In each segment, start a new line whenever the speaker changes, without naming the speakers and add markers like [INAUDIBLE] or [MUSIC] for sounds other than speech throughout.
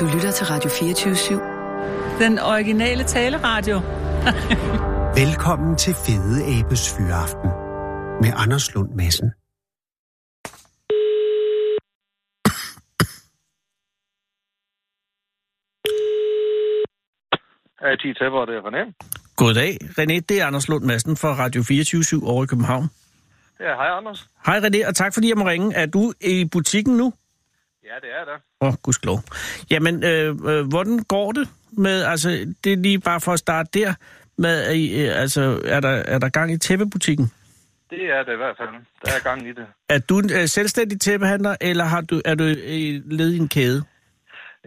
Du lytter til Radio 24
Den originale taleradio.
Velkommen til Fede Abes Fyraften med Anders Lund Madsen.
af de tæpper, det er fornemt.
Goddag, René. Det er Anders Lund Madsen fra Radio 24 over i København.
Ja, hej Anders.
Hej René, og tak fordi jeg må ringe. Er du i butikken nu?
Ja, det er det.
Åh, oh, gudskelov. Jamen, øh, øh, hvordan går det med, altså, det er lige bare for at starte der, med, at I, øh, altså, er der, er der gang i tæppebutikken?
Det er det i hvert fald. Der er gang i det.
Er du en øh, selvstændig tæppehandler, eller har du, er du øh, led i en kæde?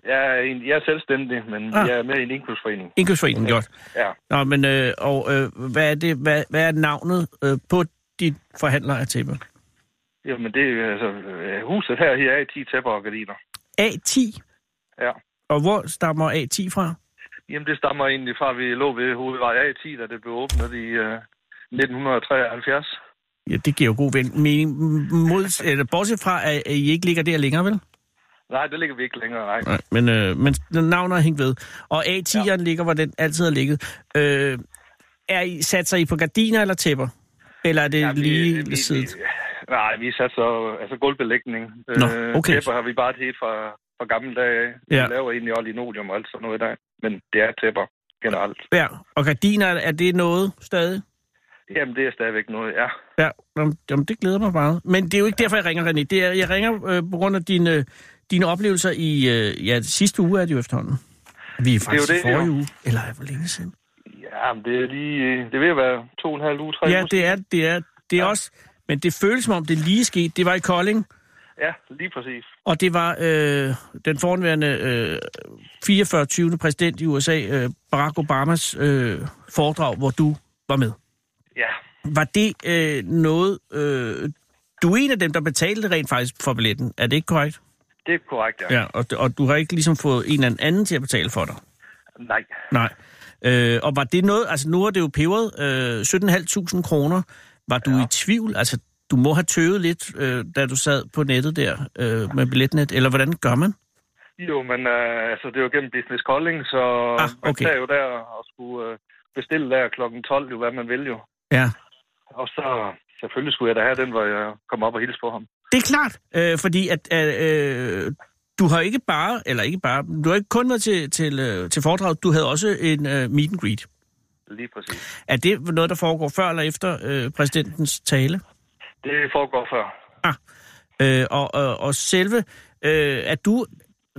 Jeg er, en, jeg er selvstændig, men
Ah.
ah. jeg er med i en indkøbsforening.
Indkøbsforeningen, godt.
Ja.
Nå, men, øh, og øh, hvad, er det, hvad, hvad er navnet øh, på dit forhandler af tæpper?
Jamen, det er altså, øh, huset her, her er 10 tæpper og gardiner.
A10?
Ja.
Og hvor stammer A10 fra?
Jamen, det stammer egentlig fra, at vi lå ved hovedvej A10, da det blev åbnet i øh, 1973.
Ja, det giver jo god ven- mening. M- Mod, eller, bortset fra, at at I ikke ligger der længere, vel?
Nej, det ligger vi ikke længere, nej.
Nej, men, øh, men navnet er hængt ved. Og A10'eren ja. ligger, hvor den altid har ligget. Øh, er I, satser I på gardiner eller tæpper? Eller er det ja,
Jamen,
lige
vi,
ved siden?
vi, Nej, vi satte så altså gulvbelægning.
Nå, okay.
Tæpper har vi bare helt fra, fra gamle dage af.
Ja.
Vi laver egentlig også linoleum og alt sådan noget i dag. Men det er tæpper generelt.
Ja, og gardiner, er det noget stadig?
Jamen, det er stadigvæk noget, ja.
Ja, jamen, jamen, det glæder mig meget. Men det er jo ikke derfor, jeg ringer, René. Det er, jeg ringer øh, på grund af dine, dine oplevelser i øh, ja, sidste uge, er det jo efterhånden. Vi er faktisk det
det,
er det, forrige
jo.
uge. Eller hvor længe siden?
Ja, men det er lige... Det vil være to og en halv uge, tre
Ja,
uger.
det er det. Er, det er ja. også... Men det føles som om, det lige skete. Det var i Kolding,
Ja, lige præcis.
og det var øh, den forhenværende øh, 44. 20. præsident i USA, øh, Barack Obamas øh, foredrag, hvor du var med.
Ja.
Var det øh, noget... Øh, du er en af dem, der betalte rent faktisk for billetten. Er det ikke korrekt?
Det er korrekt, ja.
Ja, og, og du har ikke ligesom fået en eller anden til at betale for dig?
Nej.
Nej. Øh, og var det noget... Altså, nu er det jo peberet øh, 17.500 kroner. Var du ja. i tvivl? Altså, du må have tøvet lidt, øh, da du sad på nettet der øh, med billetnet. Eller hvordan gør man?
Jo, men øh, altså, det er jo gennem Business Calling, så
Ah,
man
okay.
tager jo der og skulle øh, bestille der klokken 12, jo, hvad man vil jo.
Ja.
Og så selvfølgelig skulle jeg da have den, hvor jeg kom op og hilse på ham.
Det er klart, øh, fordi at, at øh, du har ikke bare, eller ikke bare, du har ikke kun været til, til, øh, til foredraget, du havde også en øh, meet and greet.
Lige præcis.
Er det noget, der foregår før eller efter øh, præsidentens tale?
Det foregår før.
Øh, og, og, og selve, øh, er du,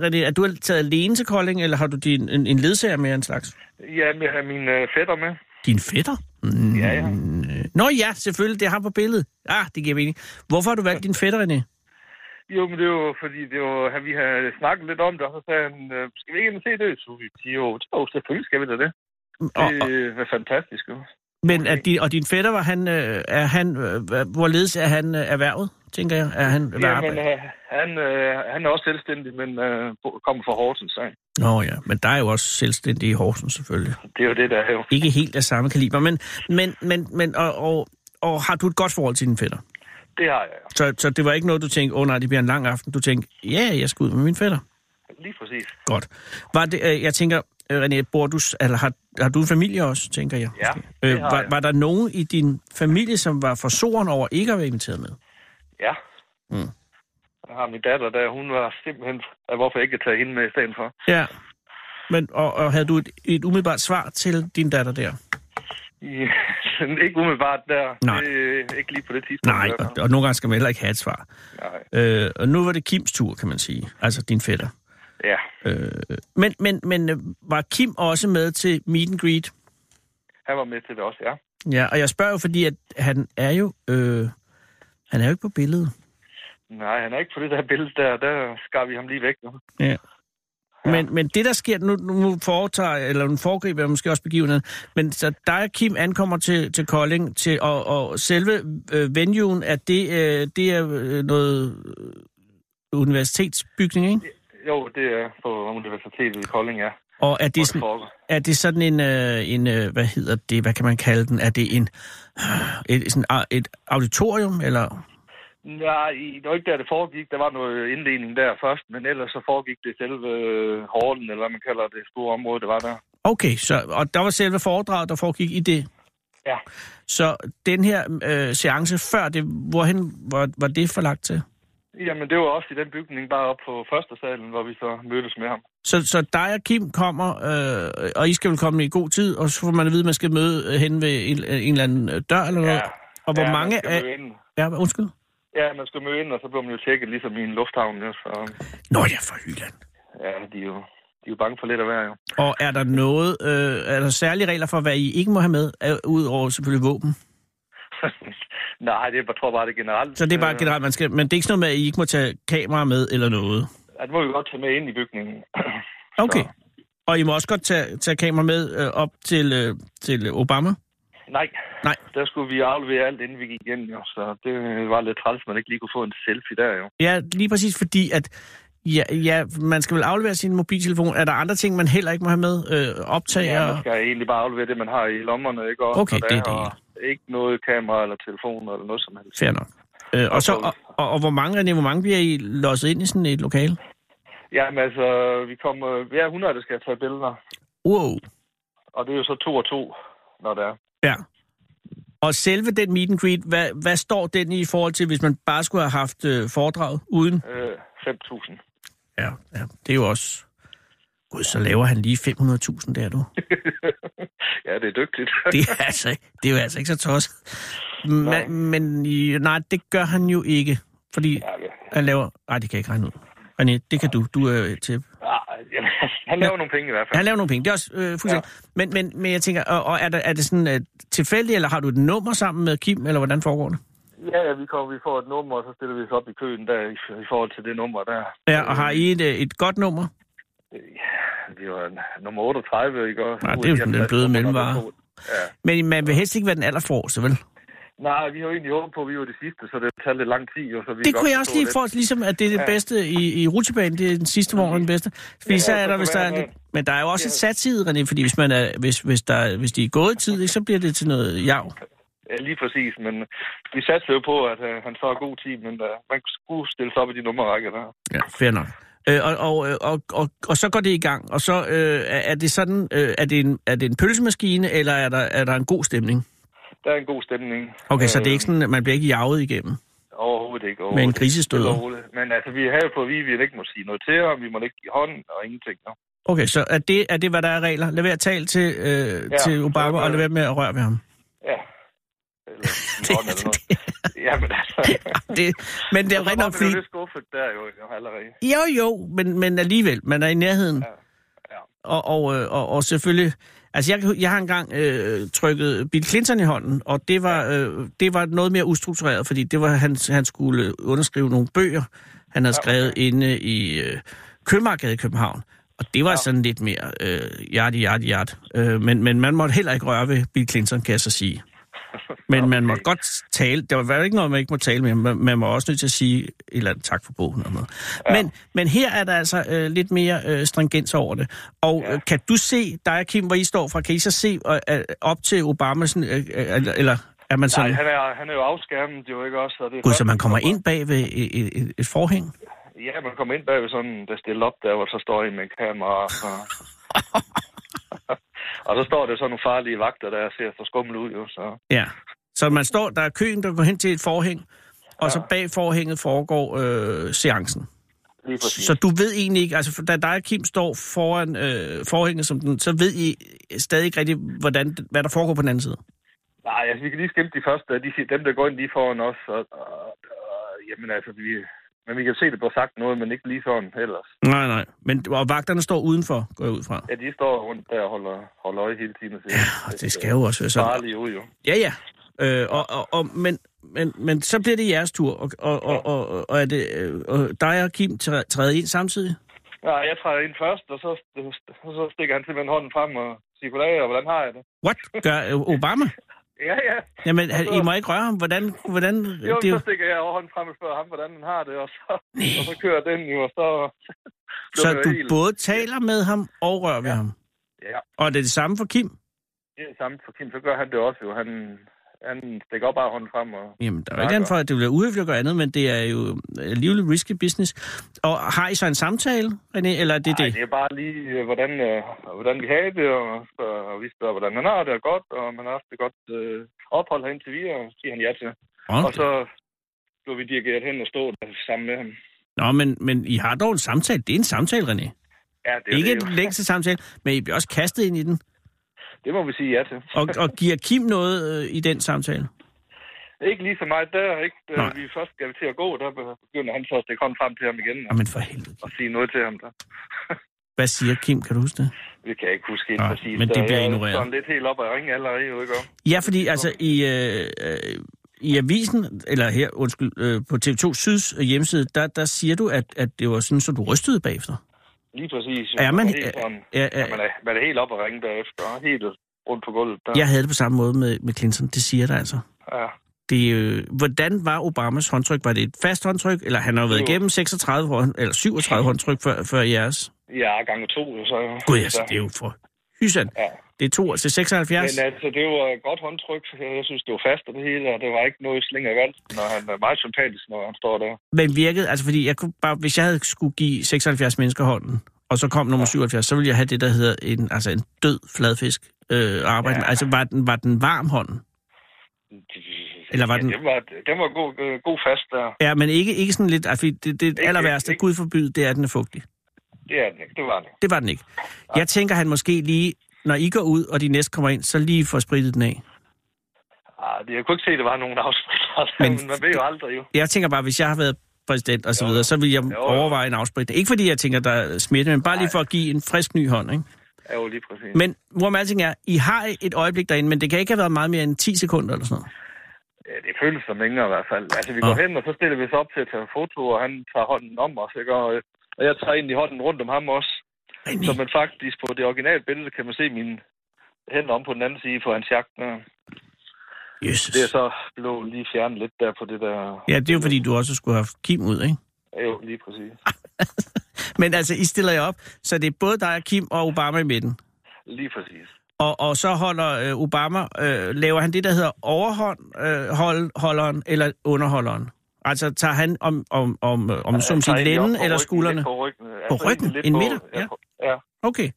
René, er du taget alene til Kolding, eller har du din, en, en ledsager med af en slags?
Ja, men jeg har mine øh, fætter med.
Din fætter? Mm.
Ja, ja.
Nå ja, selvfølgelig, det er ham på billedet. Ah, det giver mening. Hvorfor har du valgt din fætter, René?
Jo, men det er jo, fordi det var, han, vi havde snakket lidt om det, og så sagde han, øh, skal vi ikke ind og se det? Så vi siger jo, jo, selvfølgelig skal vi da det.
Og, og,
Det er fantastisk, jo.
men er din, og din fætter, var han, øh, er han, øh, hva- hvorledes er han øh, erhvervet, tænker jeg? Er han hvad
Jamen,
arbejder?
øh, han, øh, han er også selvstændig, men øh, bo- kommer fra Horsens. Ikke?
Nå ja, men der er jo også selvstændige i Horsens, selvfølgelig.
Det er jo det, der er jo.
Ikke helt af samme kaliber, men, men, men, men og, og, og har du et godt forhold til din fætter?
Det har jeg. jo.
Så, så det var ikke noget, du tænkte, åh oh, nej, det bliver en lang aften. Du tænkte, ja, jeg skal ud med min fætter.
Lige præcis.
Godt. Var det, øh, jeg tænker, øh, René, bor du, s- eller har, har du en familie også, tænker jeg?
Ja, det
Øh,
har
var,
jeg.
var der nogen i din familie, som var for soren over ikke at være inviteret med?
Ja. Mm. Jeg har min datter der, hun var simpelthen... Ja, Hvorfor jeg ikke tage hende med i stedet for?
Ja. Men, og, og havde du et, et umiddelbart svar til din datter der?
Ja, [LAUGHS] ikke umiddelbart der.
Nej.
Det, er ikke lige på det tidspunkt.
Nej, og, og nogle gange skal man heller ikke have et svar.
Nej.
Øh, og nu var det Kims tur, kan man sige. Altså din fætter.
Ja.
Øh, men, men, men øh, var Kim også med til meet and greet?
Han var med til det også, ja.
Ja, og jeg spørger jo, fordi at han er jo, øh, han er jo ikke på billedet.
Nej, han er ikke på det der billede der. Der skar vi ham lige væk. Nu.
Ja. Men, men det, der sker, nu, nu foretager, eller nu foregriber jeg måske også begivenheden, men så dig og Kim ankommer til, til Kolding, til, og, og selve øh, venuen, er det, øh, det er øh, noget øh, universitetsbygning, ikke?
Jo, det er på Universitetet i Kolding, ja.
Og er
hvor
det, sådan,
foregår.
er det sådan en, øh, en øh, hvad hedder øh, det, hvad kan man kalde den, er det en, et, sådan, et auditorium, eller
Nej, i- det var ikke der, det foregik. Der var noget indledning der først, men ellers så foregik det selve øh, hallen, eller hvad man kalder det store område, det var der.
Okay, så, og der var selve foredraget, der foregik i det.
Ja.
Så den her øh, seance før det, hvorhen var, var det forlagt til?
Jamen, det var også i den bygning, bare op på første salen, hvor vi så mødtes med ham.
Så, så dig og Kim kommer, øh, og I skal vel komme i god tid, og så får man at vide, at man skal møde øh, hen ved en, en eller anden øh, dør eller noget. Og hvor
ja, man
mange
skal
af...
møde ind.
Ja, undskyld.
Ja, man skal møde ind, og så bliver man jo tjekket, ligesom i en lufthavn. Ja, så,
Nå ja, for Jylland.
ja, de er jo, de er jo bange for lidt af hver, jo.
Og er der noget, øh, er der særlige regler for, hvad I ikke må have med, øh, udover selvfølgelig våben?
Nej, det er, jeg tror bare, det er generelt.
Så det er bare
øh,
generelt, man skal... Men det er ikke sådan noget med, at I ikke må tage kamera med eller noget?
Ja, det må vi godt tage med ind i bygningen. [CLEARS THROAT]
Okay.
Så-
Og I må også godt tage, tage kamera med øh, op til, øh, til Obama?
Nej.
Nej.
Der skulle vi aflevere alt, inden vi gik igen, jo. Så det var lidt træls, man ikke lige kunne få en selfie der, jo.
Ja, lige præcis fordi, at ja, ja, man skal vel aflevere sin mobiltelefon. Er der andre ting, man heller ikke må have med? Øh, optager?
Ja, man skal egentlig bare aflevere det, man har i lommerne, ikke? Og,
Okay,
og
det er det
Ikke noget kamera eller telefon eller noget som helst.
Fair nok. Øh, og, så, og, og, og hvor mange af hvor mange bliver I losset ind i sådan et lokale?
Jamen altså, vi kommer... Vi er 100, der skal tage billeder.
Wow.
Og det er jo så to og to, når det er.
Ja. Og selve den meet and greet, hvad, hvad står den i forhold til, hvis man bare skulle have haft øh, foredraget uden?
Øh, 5.000.
Ja, ja, det er jo også... Gud, så laver han lige 500.000 der,
[LAUGHS]
du.
ja, det er dygtigt. [LAUGHS]
Det er altså, ikke- det er jo altså ikke så tosset. Men, men i- nej, det gør han jo ikke, fordi
Ja, ja.
han laver... Nej, det kan jeg ikke regne ud. René, det kan du. Du er øh, til...
Ah, jamen, han laver nogle penge i hvert fald.
Han laver nogle penge, det er også øh, fuldstændig... Men, men, men jeg tænker, og, og er, der, er det sådan øh, tilfældigt, eller har du et nummer sammen med Kim, eller hvordan foregår det?
Ja, ja, vi kommer, vi får et nummer, og så stiller vi os op i køen der i, i forhold til det nummer der.
Ja, og har I et, øh, et godt nummer?
Øh, Vi var en- nummer 38, ikke? Og
Nej, det er jo sådan den bløde mellemvare.
Ja.
Men man vil helst ikke være den allerforreste, vel?
Nej, vi har jo egentlig håbet på, at vi var det sidste, så det tager lidt lang tid. Jo, så vi
Det
godt
kunne jeg også
forstå
lige
det.
få, ligesom at det er det bedste i, i rutsjebanen, det er den sidste vogn, den bedste. Fordi
Ja,
så er
så
der,
kunne
hvis der
være
er lidt,
noget.
men der er jo også et satsid, René, fordi hvis, man er, hvis, hvis, der, hvis de er gået i tid, ikke, så bliver det til noget jav.
Ja, lige præcis, men vi satte jo på, at øh, han så er god tid, men øh, man skulle stille sig op i de nummerrækker der.
Ja, fair nok. Øh, og, og, øh, og, og, og så går det i gang, og så øh, er- er det sådan, øh, er, det en, er det en pølsemaskine, eller er der, er der en god stemning?
Der er en god stemning.
Okay, så det er
Øh,
ikke sådan, at man bliver ikke jaget igennem.
Overhovedet ikke.
Med en
Overhovedet.
grisestøder.
Stille og roligt. Men altså, vi har jo på, at vi, vi ikke må sige noget til ham, vi må ikke give hånd og ingenting. No.
Okay, så er det, er det hvad der er regler? Lad være at tale til, øh, ja,
Ja,
til
så
Obama,
er-
og lad være med at røre ved ham.
Ja.
[LAUGHS]
Eller give hånd eller noget. Jamen altså.
Det, men det er rigtig nok,
fordi... Jeg
fordi
er lidt skuffet der jo jo, allerede.
Jo, jo, men, men alligevel, man er i nærheden. Ja.
ja.
Og, og, øh, og, og selvfølgelig, altså jeg, kan- jeg har engang øh, trykket Bill Clinton i hånden, og det var, øh, det var noget mere ustruktureret, fordi det var, han, han skulle underskrive nogle bøger, han havde skrevet inde i øh, Købmarkedet i København. Og det var ja. sådan lidt mere øh, hjert i hjert i hjert. Øh, men, men man måtte heller ikke røre ved Bill Clinton, kan jeg så sige. Men okay. man må godt tale. Der var ikke noget, man ikke må tale med. Man, man må også nødt til at sige et eller andet tak for bogen. Og noget. Ja. Men, men her er der altså øh, lidt mere øh, stringens over det. Og ja. øh, kan du se, dig og Kim, hvor I står fra, kan I så se øh, øh, op til Obama, sådan, øh, øh, eller, eller er man
Nej,
sådan...
han er, han er jo afskærmet, jo ikke også? Og det er
Gud,
først,
så man
vi
kommer ind bag ved et, et, et forhæng?
Ja, man kommer ind bag ved sådan, der stiller op der, hvor så står en med en kamera. Og,
[LAUGHS]
og så står der sådan nogle farlige vagter, der ser så skummel ud, jo. Så.
Ja. Så man står, der er køen, der går hen til et forhæng, og ja. så bag forhænget foregår øh, seancen.
Lige præcis.
Så du ved egentlig ikke, altså for- da dig og Kim står foran øh, forhænget, som den, så ved I stadig ikke rigtigt, hvordan, hvad der foregår på den anden side.
Nej, altså, vi kan lige skimte de første. De, siger- dem, der går ind lige foran os. Og, og, og, jamen, altså, vi, men vi kan se, det bliver sagt noget, men ikke lige sådan ellers.
Nej, nej. Men, og vagterne står udenfor, går jeg ud fra.
Ja, de står rundt der og holder, holder øje hele tiden. Og ser,
Og det skal jo også være sådan.
farligt ud, jo.
Ja, ja. Øh, og, og, og, men, men, men så bliver det jeres tur, og, og, og, og, og er det øh, og dig og Kim træ- træder ind samtidig?
Nej, jeg træder ind først, og så, og så stikker han simpelthen hånden frem og siger, goddag, og hvordan har jeg det?
What? Gør øh, Obama?
Ja, ja.
Jamen, han, I må ikke røre ham. Hvordan? hvordan
Jo,
det, er
så stikker jeg over hånden frem og spørger ham, hvordan han har det, og så, og så kører den jo, og så...
[LAUGHS] så
bliver det
du
helt-
både taler med ham og rører ved ham?
Ja.
Og er det det samme for Kim?
Det er det samme for Kim, så gør han det også jo. Han, han stikker bare hånden frem. Og...
Jamen, der er jo
Tak,
ikke andet
og-
for, at det bliver uhøfligt at gøre andet, men det er jo alligevel risky business. Og har I så en samtale, René, eller er det
Ej,
det?
det er bare lige, øh, hvordan, øh, hvordan vi har det, og, spørger, og vi spørger, hvordan han har det, og godt, og man har haft et godt øh, ophold herinde til vi, og så siger han ja til.
Nå,
Og så blev vi dirigeret hen og stod der sammen med ham.
Nå, men, men I har dog en samtale. Det er en samtale, René.
Ja, det, er
ikke
det,
en
jo. [LAUGHS]
længste samtale, men I bliver også kastet ind i den.
det må vi sige ja til.
Og, og giver Kim noget øh, i den samtale?
Ikke lige så meget der, ikke? Da
Nej.
vi først skal til at gå, der begynder han så at stikke hånden frem til ham igen og,
Jamen for helvede.
og sige noget til ham der.
Hvad siger Kim, kan du huske det?
Det kan jeg ikke huske helt
Nej,
præcis.
men det
Der
bliver
er
ignoreret.
Sådan lidt helt op ad ringe allerede, jo ikke? om?
Ja, fordi altså i, øh, øh, i avisen, eller her, undskyld, øh, på TV2 Syds hjemmeside, der, der siger du, at, at det var sådan, så du rystede bagefter.
Lige præcis.
Er man-
Man er helt, sådan,
er- er-
ja, man er, man er helt op ad ringe derefter, og helt rundt på gulvet. Der.
Jeg havde det på samme måde med, med Clinton, det siger der altså.
Ja.
Det, øh, hvordan var Obamas håndtryk? Var det et fast håndtryk, eller han har jo været
Jo.
igennem 36 hånd, eller 37 håndtryk før, før jeres?
Ja, gange to, jo, så...
Gud, altså,
Så-
det er jo for hysen.
Ja.
Det er 2 til 76.
Men altså, det var et godt håndtryk. Jeg synes, det var fast og det hele, og det var ikke noget slinger i valsen, og han er meget sympatisk, når han står der.
Men virkede, altså fordi jeg kunne bare, hvis jeg havde skulle give 76 mennesker hånden, og så kom nummer 77, så ville jeg have det, der hedder en, altså en død fladfisk øh, arbejde. Ja.
Ja.
Altså var den, var den varm hånden? Eller var den-
Ja, den var, den var god, øh, god fast der.
Ja, men ikke, ikke sådan lidt, altså fordi det, det
Ikke-
aller værste,
ikke-
gud forbyde, det er, at den er fugtig.
Det er den ikke. Det var den.
Det var den ikke. Jeg tænker, han måske lige, når I går ud, og de næste kommer ind, så lige får spritet den af.
Ah, det, jeg kunne ikke se, at det var nogen afspiller.
Men-
Men, men [LAUGHS] man ved jo aldrig, jo.
Jeg tænker bare, hvis jeg har været præsident og så videre, så vil jeg
jo.
overveje en afspritning. Ikke fordi jeg tænker, der er smitte, men bare lige for at give en frisk ny hånd, ikke?
Ja, jo, lige præcis.
Men hvorom alting er, I har et øjeblik derinde, men det kan ikke have været meget mere end 10 sekunder eller sådan noget.
Ja, det føles som længere i hvert fald. Altså, vi går
Ah.
hen, og så stiller vi os op til at tage en foto, og han tager hånden om os, ikke? Og, øh, og jeg tager egentlig hånden rundt om ham også. Så
René,
man faktisk på det originale billede kan man se mine hænder om på den anden side på hans jagt. Ja.
Jesus.
Det er så blev lige fjernet lidt der på det der...
Ja, det er jo fordi, du også skulle have haft Kim ud, ikke?
Ja, jo, lige præcis.
Men altså, I stiller jer op, så det er både dig og Kim og Obama i midten.
Lige præcis.
Og, og så holder øh, Obama, øh, laver han det, der hedder overhånd, øh, hold, holderen eller underholderen? Altså, tager han om, om, om, øh, om som
Altså, tager
sin
egentlig op
lænden
på
eller
ryggen,
skuldrene?
lidt På ryggen. Altså,
På ryggen?
lidt
En
på-
midter?
Ja.
Ja.
på- ja.
Okay.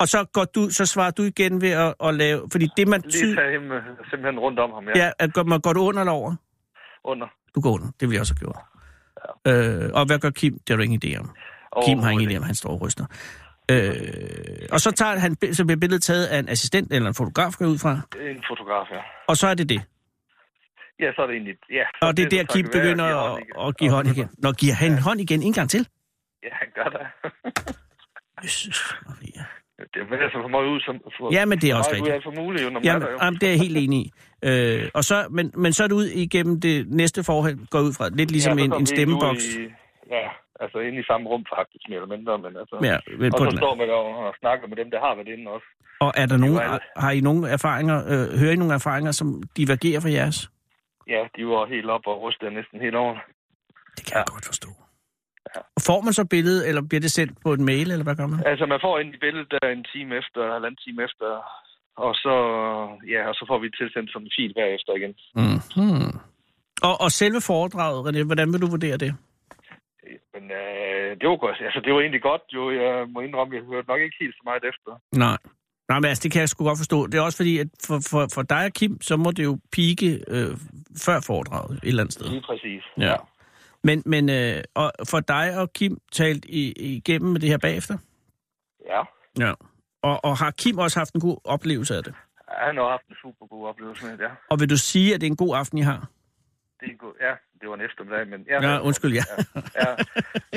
Og så, går du, så svarer du igen ved at, at lave... Fordi det, man
Lige
ty...
tage ham øh, simpelthen rundt om ham, ja.
Ja, at går, man går du under eller over?
Under.
Du går under. Det vil jeg også have gjort. Øh, og hvad gør Kim? Det har du ingen idé om. Kim har ingen idé om, han står og ryster. Øh, og så, tager han, bi- så bliver billedet taget af en assistent eller en fotograf, går jeg ud fra.
En fotograf, ja.
Og så er det det.
Ja, så er det egentlig... Ja, så
Og det er der,
så
Kim
kan være,
begynder
giver hånd
at,
igen.
at give hånd igen. Nå, giver han hånd igen en gang til?
Ja, han gør det.
Jesus Maria.
Det er altså for meget ud som... For,
Ja, men det er også
for meget ud
rigtigt.
af for muligt, jo, når man
Jamen,
er der, jo.
jamen, det er jeg helt enig i. Øh, og så, men, men så er du ud igennem det næste forhold, går jeg ud fra. Lidt ligesom
så
ja, en,
kom
en
vi
stemmeboks.
ud i- Ja, altså inde i samme rum faktisk, mere eller mindre, men altså...
Ja, ved-
og
på
så
den.
står man der og snakker med dem, der har været inde også.
Og er der nogen,
alt.
har I nogle erfaringer, øh, hører I nogle erfaringer, som divergerer fra jeres?
Ja, de var helt op og rystede næsten helt over.
Det kan jeg godt forstå. Får man så billedet, eller bliver det sendt på en mail, eller hvad gør man?
Altså, man får ind i billedet der en time efter, halvanden time efter, og så, ja, og så får vi det tilsendt som en fil bagefter igen.
Mm-hmm. Og, og selve foredraget, René, hvordan vil du vurdere det?
Men øh, det var godt. Altså, det var egentlig godt, jo. Jeg må indrømme, jeg hørte nok ikke helt så meget efter.
Nej. Nej, men altså, det kan jeg sgu godt forstå. Det er også fordi, at for, for, for dig og Kim, så må det jo pike øh, før foredraget et eller andet sted.
Lige præcis.
Ja. Men, men øh, og for dig og Kim talt i, igennem med det her bagefter?
Ja.
Ja. Og, og har Kim også haft en god oplevelse af det?
Ja, Han har haft en super god oplevelse med det, ja.
Og vil du sige, at det er en god aften, I har?
Det er en god, ja, det var en eftermiddag, men...
Ja, undskyld, ja.
ja.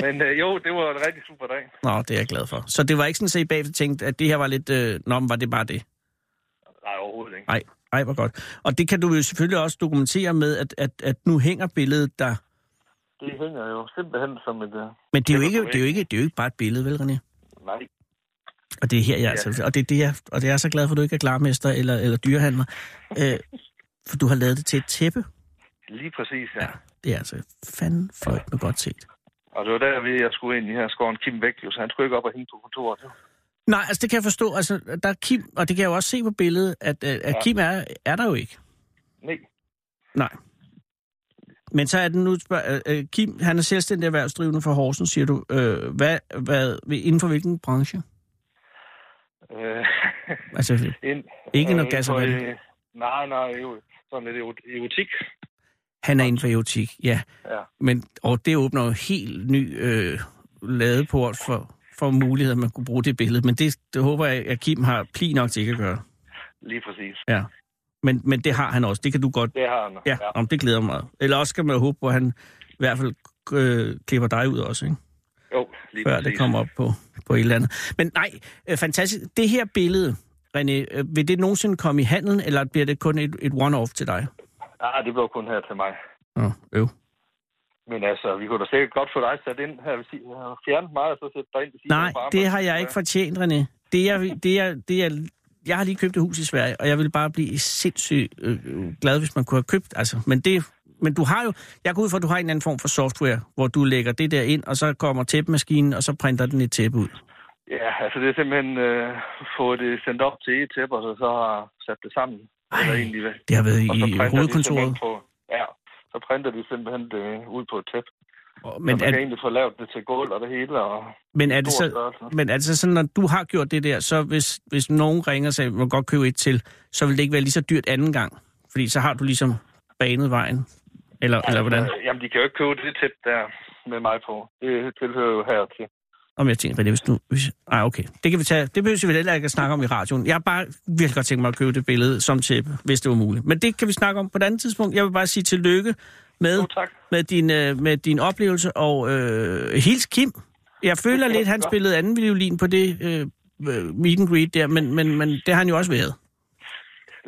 Men øh, jo, det var en rigtig super dag.
Nå, det er jeg glad for. Så det var ikke sådan, at I bagefter tænkte, at det her var lidt... Øh, nå, men var det bare det?
Nej, overhovedet ikke.
Nej, nej, hvor godt. Og det kan du jo selvfølgelig også dokumentere med, at, at, at nu hænger billedet der.
Det hænger jo simpelthen som et... Øh,
Men det er,
Det
jo
var
ikke, det, er jo ikke, det er jo ikke bare et billede, vel, René?
nej,
Og det er her, jeg, altså, og det er det, jeg, og det er jeg så glad for, at du ikke er klarmester eller, eller dyrehandler. Øh, for du har lavet det til et tæppe.
lige præcis, ja.
Det er altså fanden fløjt med godt set.
Og det var der, vi- jeg skulle ind i her skoven Kim væk, jo, så han skulle ikke op og hænge på kontoret. jo.
Nej, altså det kan jeg forstå. Altså, der er Kim, og det kan jeg jo også se på billedet, at, øh, at Kim er, er der jo ikke.
Nej.
Nej. Men så er den nu... Spørg, øh, øh, Kim, han er selvstændig erhvervsdrivende for Horsens, siger du. Øh, hvad, hvad, inden for hvilken branche?
Øh, [LAUGHS]
Altså,
ind,
Ikke noget
øh,
gas og
for,
vand.
øh, Nej, nej, jo, sådan lidt erotik. erotik.
han er inden for erotik, ja.
Ja.
Men, og det åbner jo en helt ny øh, ladeport for, for muligheder, man kunne bruge det billede. Men det, det håber jeg, at Kim har pli nok til ikke at gøre.
Lige præcis.
Ja. Men, men det har han også. Det kan du godt...
Det har han.
Ja, ja. Om det glæder mig meget. Eller også skal man håbe på, at han i hvert fald øh, klipper dig ud også, ikke?
Jo, lige
før
præcis.
det kommer op på, på et eller andet. Men nej, øh, fantastisk. Det her billede, René, øh, vil det nogensinde komme i handelen, eller bliver det kun et, et one-off til dig?
Ah, det blev kun her til mig.
Åh, øv.
Men altså, vi kunne da sikkert godt få dig sat ind her ved siden og fjerne mig, og så sætte dig ind ved siden
Nej,
af Barbara.
det har jeg ikke fortjent, René. Det er, det er, det er, jeg har lige købt et hus i Sverige, og jeg ville bare blive sindssygt øh, øh, glad, hvis man kunne have købt. Altså, men, det, men du har jo, jeg går ud fra, at du har en eller anden form for software, hvor du lægger det der ind, og så kommer tæppemaskinen, og så printer den et tæppe ud.
Ja, altså det er simpelthen øh, få det sendt op til et tæppe, og så, så har sat det sammen. Eller egentlig, hvad?
Det har været
Og så
i
printer de
hovedkontoret.
simpelthen På, ja, så printer de simpelthen det ud på et tæppe.
Og-
Men
Men
så man
er,
kan egentlig få lavet det til gulv og det hele, og
men er det
stor
så,
størrelse.
men er det så sådan, når du har gjort det der, så hvis, hvis nogen ringer og siger, at man godt købe et til, så vil det ikke være lige så dyrt anden gang? Fordi så har du ligesom banet vejen? Eller, eller hvordan?
Øh, Jamen, de kan jo ikke købe det tæt der med mig på. Det tilhører jo her til.
Om jeg tænker, René, hvis nu... Hvis, ej, okay. Det kan vi tage. Det behøver vi vel heller ikke at snakke om i radioen. Jeg har bare virkelig godt tænkt mig at købe det billede som tæppe, hvis det var muligt. Men det kan vi snakke om på et andet tidspunkt. Jeg vil bare sige tillykke med,
Jo, tak.
med, din, øh, med din oplevelse, og øh, hils Kim. Jeg føler lidt, han spillede anden violin på det øh, øh, meet and greet der, men, men, men det har han jo også været.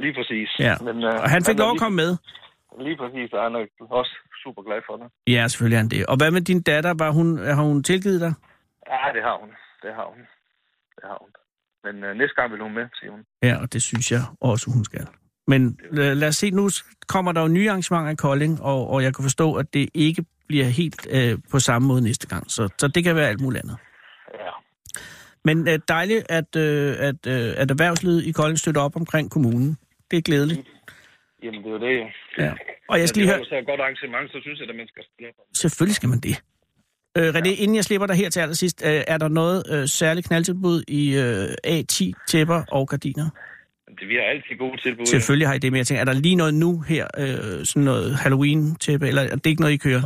Lige præcis.
Ja.
øh,
Og han fik
er
lov at komme med.
Lige, lige præcis, og han er også super glad for det.
Ja, selvfølgelig er han det. Og hvad med din datter? Var hun, har hun tilgivet dig?
Ja, det har hun. Det har hun. Det har hun. Men øh, næste gang vil hun med, siger hun.
Ja, og det synes jeg også, hun skal. Men øh, lad os se, nu kommer der jo nye arrangementer i Kolding, og, og jeg kan forstå, at det ikke bliver helt øh, på samme måde næste gang. Så, så det kan være alt muligt andet.
Ja.
Men øh, dejligt, at, øh, at, øh, at erhvervslivet i Kolding støtter op omkring kommunen. Det er glædeligt.
Jamen, det er jo det.
Ja. Og jeg skal lige høre,
Hvis det er et godt arrangement, så synes jeg, at man skal spille på det.
selvfølgelig skal man det. Øh, René, inden jeg slipper dig her til allersidst, øh, er der noget øh, særligt knaldtilbud i øh, A10 tæpper og gardiner?
det. Vi har altid gode tilbud.
Selvfølgelig har I det, men jeg tænker, er der lige noget nu her, øh, sådan noget Halloween-tæppe, eller er det ikke noget, I kører?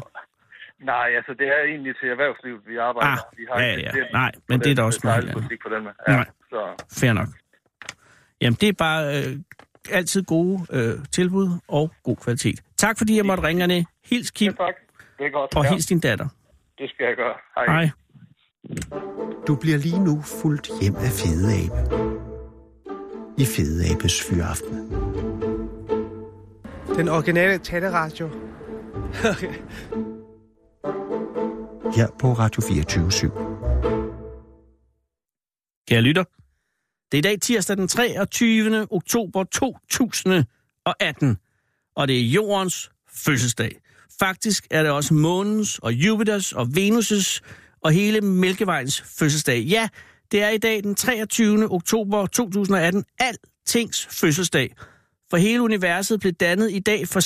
Nej, altså, det er egentlig til erhvervslivet, vi arbejder.
Ah,
vi
ja,
ikke
ja.
bestemt-
Nej, men det er da også
meget.
meget, ja.
på den måde. Ja,
Nej.
så
Fair nok. Jamen, det er bare øh, altid gode øh, tilbud og god kvalitet. Tak fordi jeg måtte ringe, René. Hils Kim
tak. Det er godt.
og
Ja,
hils din datter.
det skal jeg gøre.
Hej.
Du bliver lige nu fuldt hjem af Fede Abe. I Fede Abes Fyraften.
Den originale taleradio.
[LAUGHS] Her på Radio 24 7.
Kære lytter, det er i dag tirsdag den 23. oktober 2018, og det er jordens fødselsdag. Faktisk er det også månens og Jupiters og Venus' og hele Mælkevejens fødselsdag. Ja, det er i dag den 23. oktober 2018, altings fødselsdag. For hele universet blev dannet i dag for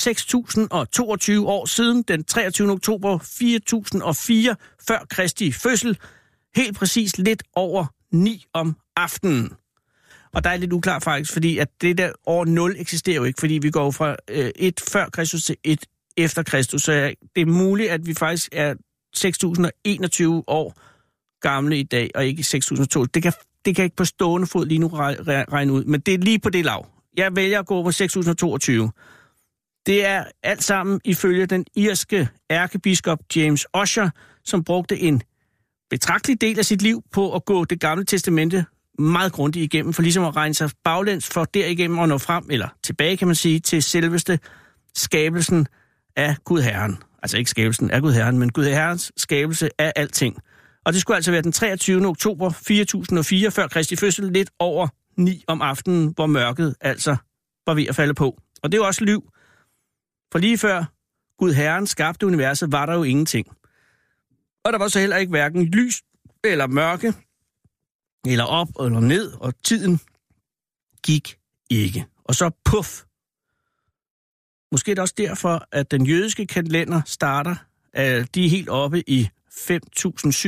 6.022 år siden, den 23. oktober 4004 før Kristi fødsel, helt præcis lidt over 9 om aftenen. Og der er lidt uklar faktisk, fordi at det der år 0 eksisterer jo ikke, fordi vi går jo fra øh, et før Kristus til et efter Kristus. Så jeg- det er muligt, at vi faktisk er 6.021 år gamle i dag, og ikke 6.002. Det kan, det kan jeg ikke på stående fod lige nu re- re- regne ud, men det er lige på det lav. Jeg vælger at gå på 6.022. Det er alt sammen ifølge den irske ærkebiskop James Usher, som brugte en betragtelig del af sit liv på at gå det gamle testamente meget grundigt igennem, for ligesom at regne sig baglæns for derigennem at nå frem, eller tilbage kan man sige, til selveste skabelsen af Gud Herren. Altså ikke skabelsen af Gud Herren, men Gud Herrens skabelse af alting. Og det skulle altså være den 23. oktober 4004 før Kristi fødsel, lidt over 9 om aftenen, hvor mørket altså var ved at falde på. Og det er jo også liv. For lige før Gud Herren skabte universet, var der jo ingenting. Og der var så heller ikke hverken lys eller mørke, eller op eller ned, og tiden gik ikke. Og så puff, Måske er det også derfor, at den jødiske kalender starter, øh, de er helt oppe i 5.779,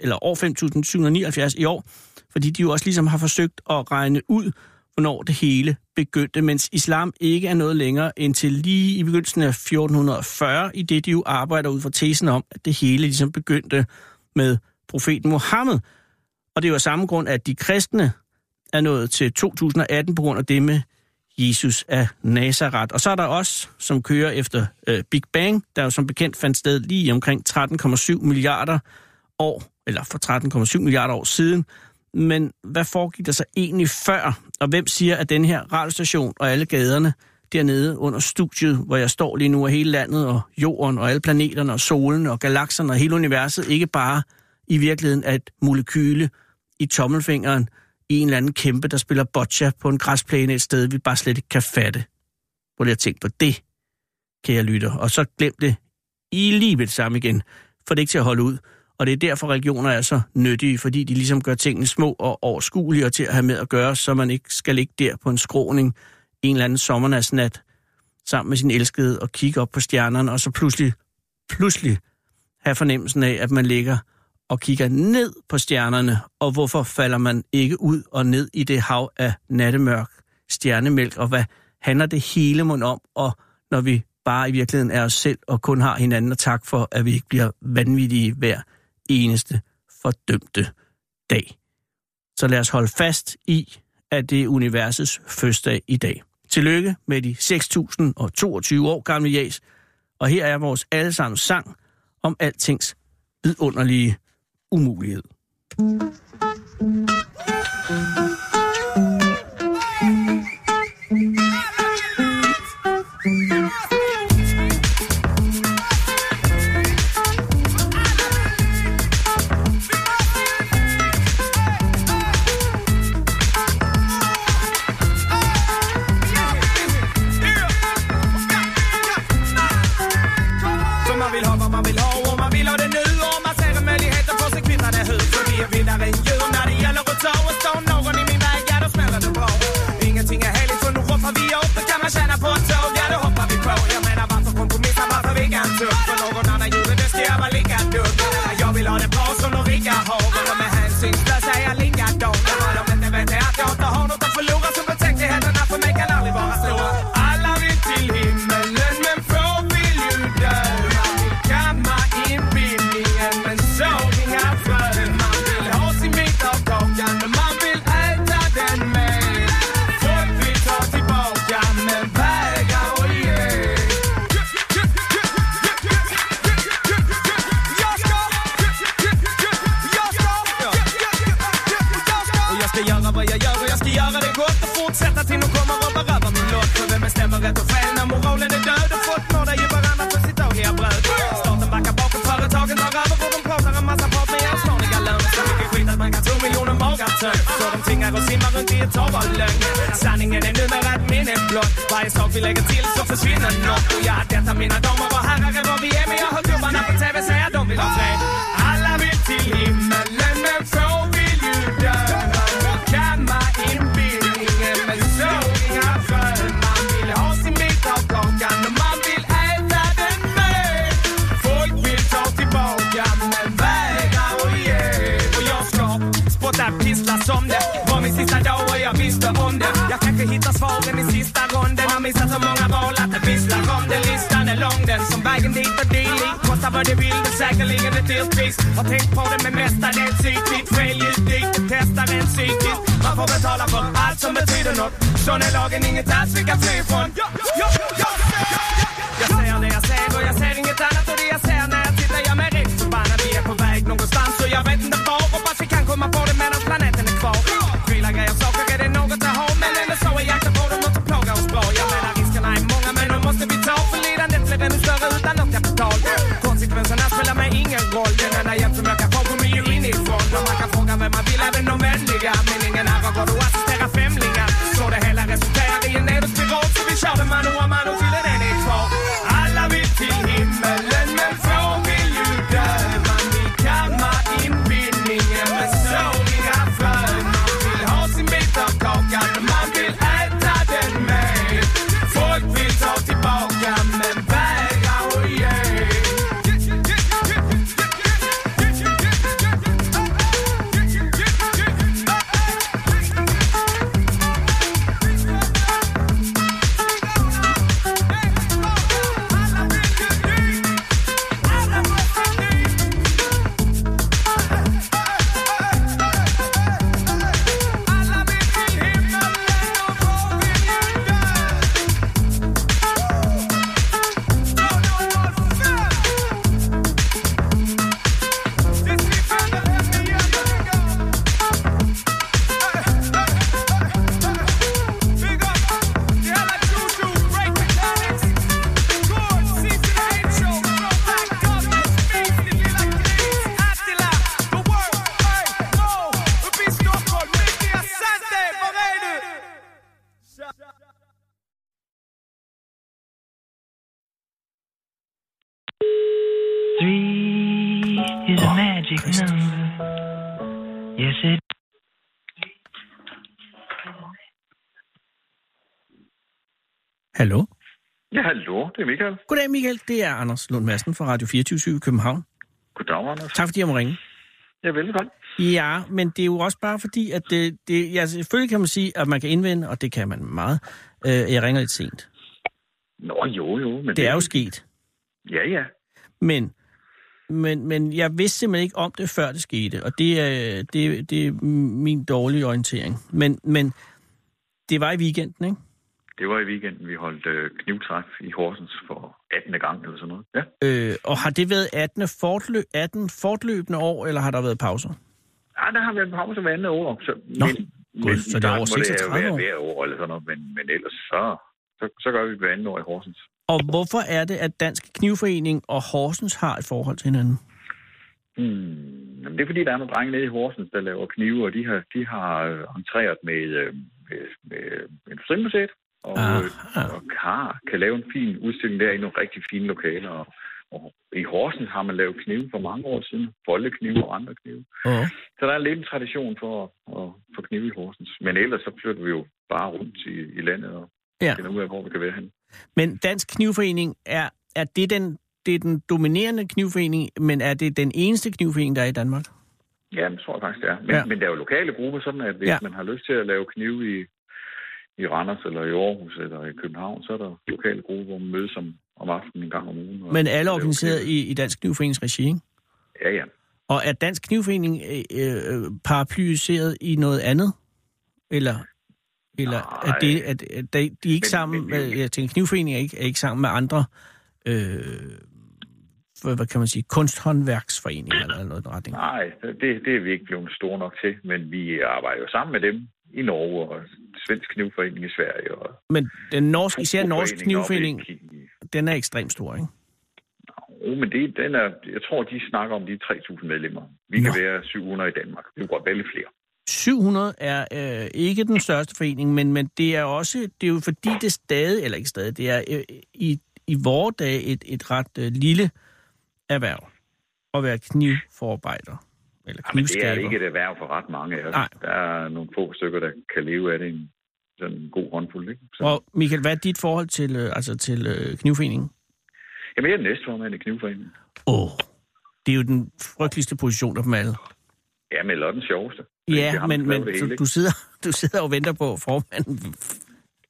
eller år 5.779 i år, fordi de jo også ligesom har forsøgt at regne ud, hvornår det hele begyndte, mens islam ikke er noget længere end til lige i begyndelsen af 1440, i det de jo arbejder ud fra tesen om, at det hele ligesom begyndte med profeten Mohammed. Og det er jo af samme grund, at de kristne er nået til 2018 på grund af det med Jesus af Nazareth. Og så er der også, som kører efter øh, Big Bang, der jo som bekendt fandt sted lige omkring 13,7 milliarder år, eller for 13,7 milliarder år siden. Men hvad foregik der så egentlig før? Og hvem siger, at den her radiostation og alle gaderne dernede under studiet, hvor jeg står lige nu, og hele landet og jorden og alle planeterne og solen og galakserne og hele universet, ikke bare i virkeligheden er et molekyle i tommelfingeren, i en eller anden kæmpe, der spiller boccia på en græsplæne et sted, vi bare slet ikke kan fatte. Hvor jeg tænkte på det, kære lytter. Og så glem det i lige ved det samme igen, for det er ikke til at holde ud. Og det er derfor, religioner er så nyttige, fordi de ligesom gør tingene små og overskuelige og til at have med at gøre, så man ikke skal ligge der på en skråning en eller anden sommernatsnat sammen med sin elskede og kigge op på stjernerne, og så pludselig, pludselig have fornemmelsen af, at man ligger og kigger ned på stjernerne, og hvorfor falder man ikke ud og ned i det hav af nattemørk, stjernemælk, og hvad handler det hele mund om, og når vi bare i virkeligheden er os selv og kun har hinanden at tak for, at vi ikke bliver vanvittige hver eneste fordømte dag. Så lad os holde fast i, at det er universets fødselsdag i dag. Tillykke med de 6.022 år gamle jæs, og her er vores allesammens sang om altings vidunderlige umulighed.
För man vill ha vad man vill ha och man vill ha det nu Och man ser en möjlighet att få sig kvittade hud För vi är vinnare än djur när det gäller att ta Och står någon i min väg, ja då smäller det bra Ingenting är heligt så nu ropar vi upp Det kan man tjäna på ett tåg, ja då hoppar vi på Jag menar varför kompromissa, varför vigga en tupp För någon annan gjorde det ska jag vara lika dum Jag vill ha det bra som de rika har Men de är hänsynslösa, är jag likadan När de inte vet är att jag inte har något att förlora Så betänkligheterna för mig kan aldrig vara stora Alla vill till himmelen men få vill ju dö Man vill kamma inbillningen men såg inga frön Man vill ha sin bit av kakan men man vill äta den med Folk vill ta tillbaka men vägrar att ge Och jag ska göra vad jag gör och jag ska göra det gott och fortsätta till de kommer och berövar min lott. För vem bestämmer rätt och fel när moralen är död och folk mördar ju varandra för sitt dagliga bröd. Staten backar bakåt, företagen tar över och de pratar en massa prat med avslöjande lögner. Så mycket skit att man kan tro miljoner magar töms. Så de tvingar och simmar runt i ett hav av lögn. Sanningen är numera ett minne blott. Varje sak vi lägger till så försvinner nåt. Och ja, detta mina damer och herrar är vad vi är. Men jag hör gubbarna på TV säga de vill ha fred. Alla vill till himmelen men få vill ju dö. Man kan man inbillningen men så inga frön. Man vill ha sin bit av kakan och man vill äta den med. Folk vill ta tillbaka men vägrar att ge. Och jag ska spotta pissla som det var min sista dag och jag visste om det. Jag kanske hittar svaren i sista ronden. Har missat så många val att det visslar om det. Listan är lång den som vägen dit och dylikt. Kostar vad det vill, men säkerligen ett dyrt pris. Har tänkt på det men mestadels ytligt. Skäl dyrt, det testar en psykiskt. Man får betala för allt som betyder något. Sån är lagen, inget alls vi kan fly ifrån. Ja, ja, ja, ja, ja, ja. Jag ser det jag ser och jag ser inget annat och det jag ser när jag tittar jag mig rätt förbannad. Vi är på väg någonstans och jag vet inte var. Hoppas vi kan komma på det medan planeten är kvar. Prylar, grejer, saker är det något jag har. Men eller så är jakten på dem något som plågar oss bra. Jag menar riskerna är många men de måste vi ta. För lidandet blir ännu större utan något kapital. Konsekvenserna spelar mig ingen roll. Den enda hjälp som jag kan få kommer ju inifrån. Och man kan fråga vem man vill, även de vänliga. Men ingen ära går att assistera femlingar. Så det hela resulterar i en nedåtspiral. Så vi kör det mano a mano till en enhet kvar. Alla vill till himmelen men få vill ju dö. Man vill kamma in
Christ.
Yes, it.
Hallo?
Ja, hallo. Det er Michael.
Goddag, Michael. Det er Anders Lund Madsen fra Radio 24 i København.
Goddag, Anders.
Tak fordi jeg må ringe.
Ja, velkommen.
Ja, men det er jo også bare fordi, at det, det, ja, selvfølgelig kan man sige, at man kan indvende, og det kan man meget. Øh, jeg ringer lidt sent.
Nå, jo, jo. Men
Det er jo sket.
Ja, ja.
Men, men, men jeg vidste simpelthen ikke om det, før det skete, og det er, det, det er min dårlige orientering. Men, men det var i weekenden, ikke?
Det var i weekenden, vi holdt øh, knivtræf i Horsens for 18. gang eller sådan noget. Ja.
Øh, og har det været 18, fortlø 18 fortløbende år, eller har der været pauser?
Ja, der har været en pause hver andet år. Så,
Nå, gud, så det er over 36
år?
år.
Hver år eller sådan noget, men, men ellers så, så, så gør vi det hver andet år i Horsens.
Og hvorfor er det, at Dansk Knivforening og Horsens har et forhold til hinanden?
Hmm. Jamen, det er fordi, der er nogle drenge nede i Horsens, der laver knive, og de har, de har øh, entreret med, øh, med, med Industrimuseet, og, øh,
Aha.
og har, kan lave en fin udstilling der i nogle rigtig fine lokaler. Og, og i Horsens har man lavet knive for mange år siden, boldeknive og andre knive.
Oh.
Så der er lidt en tradition for at, at få knive i Horsens. Men ellers så flytter vi jo bare rundt i, i landet og
Ja.
finder ud af, hvor vi kan være henne.
Men Dansk Knivforening, er, er det, den, det er den dominerende knivforening, men er det den eneste knivforening, der er i Danmark?
Ja, det tror jeg faktisk, det er. Men,
Ja.
ja. men der er jo lokale grupper, sådan at hvis
Ja.
ja. man har lyst til at lave knive i, i Randers eller i Aarhus eller i København, så er der lokale grupper, hvor man mødes om, om aftenen en gang om ugen. og
Men
laver
alle er organiseret
knive.
i, i Dansk Knivforenings regi, ikke?
Ja, ja.
Og er Dansk Knivforening øh, øh, paraplyseret i noget andet? Eller, eller er
Nej.
det, at, at de, de er ikke
Men-
sammen
men-
med, jeg tænker, knivforeningen er ikke, er ikke sammen med andre, øh, hvad hvad kan man sige, kunsthåndværksforeninger eller noget i den retning?
Nej, det, det er vi ikke blevet store nok til, men vi arbejder jo sammen med dem i Norge og Svensk Knivforening i Sverige. Og
Men den norske, især norsk
Foreningen oppe i
knivforening,
Kiel.
den er ekstremt stor, ikke?
Jo, Oh, men det, den er, jeg tror, de snakker om de 3.000 medlemmer. Vi Nå.
Nå.
kan være 700 i Danmark. Vi kan godt være lidt flere.
700 er øh, ikke den største forening, men, men det er også, det er jo fordi det stadig, eller ikke stadig, det er øh, i, i vore dage et, et ret øh, lille erhverv at være knivforarbejder, eller
Ja, men det er
knivskaber.
ikke et erhverv for ret mange af os.
Nej.
Der er nogle få stykker, der kan leve af det en, sådan en god håndfuld. Ikke? Så,
Og Michael, hvad er dit forhold til, øh, altså til øh, knivforeningen?
Jamen, jeg er næstformand i Knivforeningen.
Åh, oh, det er jo den frygteligste position af dem alle.
Jamen, eller den sjoveste. Fordi det er
Ja,
ham,
men,
der
men
laver det
du,
hele,
du, sidder, [LAUGHS] du sidder og venter på at formanden [LAUGHS]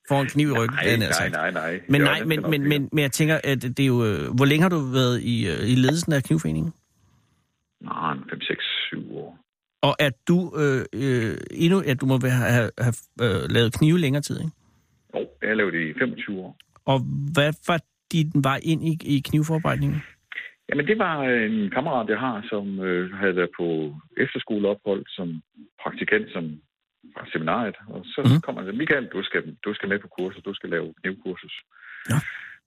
får en kniv i ryggen. havde jeg nær
ikke? Nej,
sagt.
nej, nej, nej.
Men
Jo,
nej,
den
men,
skal nok
men,
blive.
men, men jeg tænker, at det er jo... øh, Hvor længe har du været i, øh, i ledelsen af Knivforeningen?
Nej, 5, 6, 7 år.
Og er du øh, øh, endnu... At du må være, have, have øh, lavet knive længere tid, ikke?
Jo, jeg har lavet det i 25 år.
Og hvad var din vej ind i, i knivforarbejdningen?
Jamen, det var øh, en kammerat, jeg har, som øh, havde været på efterskoleophold som praktikant som fra seminariet. Og så
Mhm.
mm. kom han og sagde, Michael, du skal, du skal med på kurser, du skal lave knivkursus.
Nå.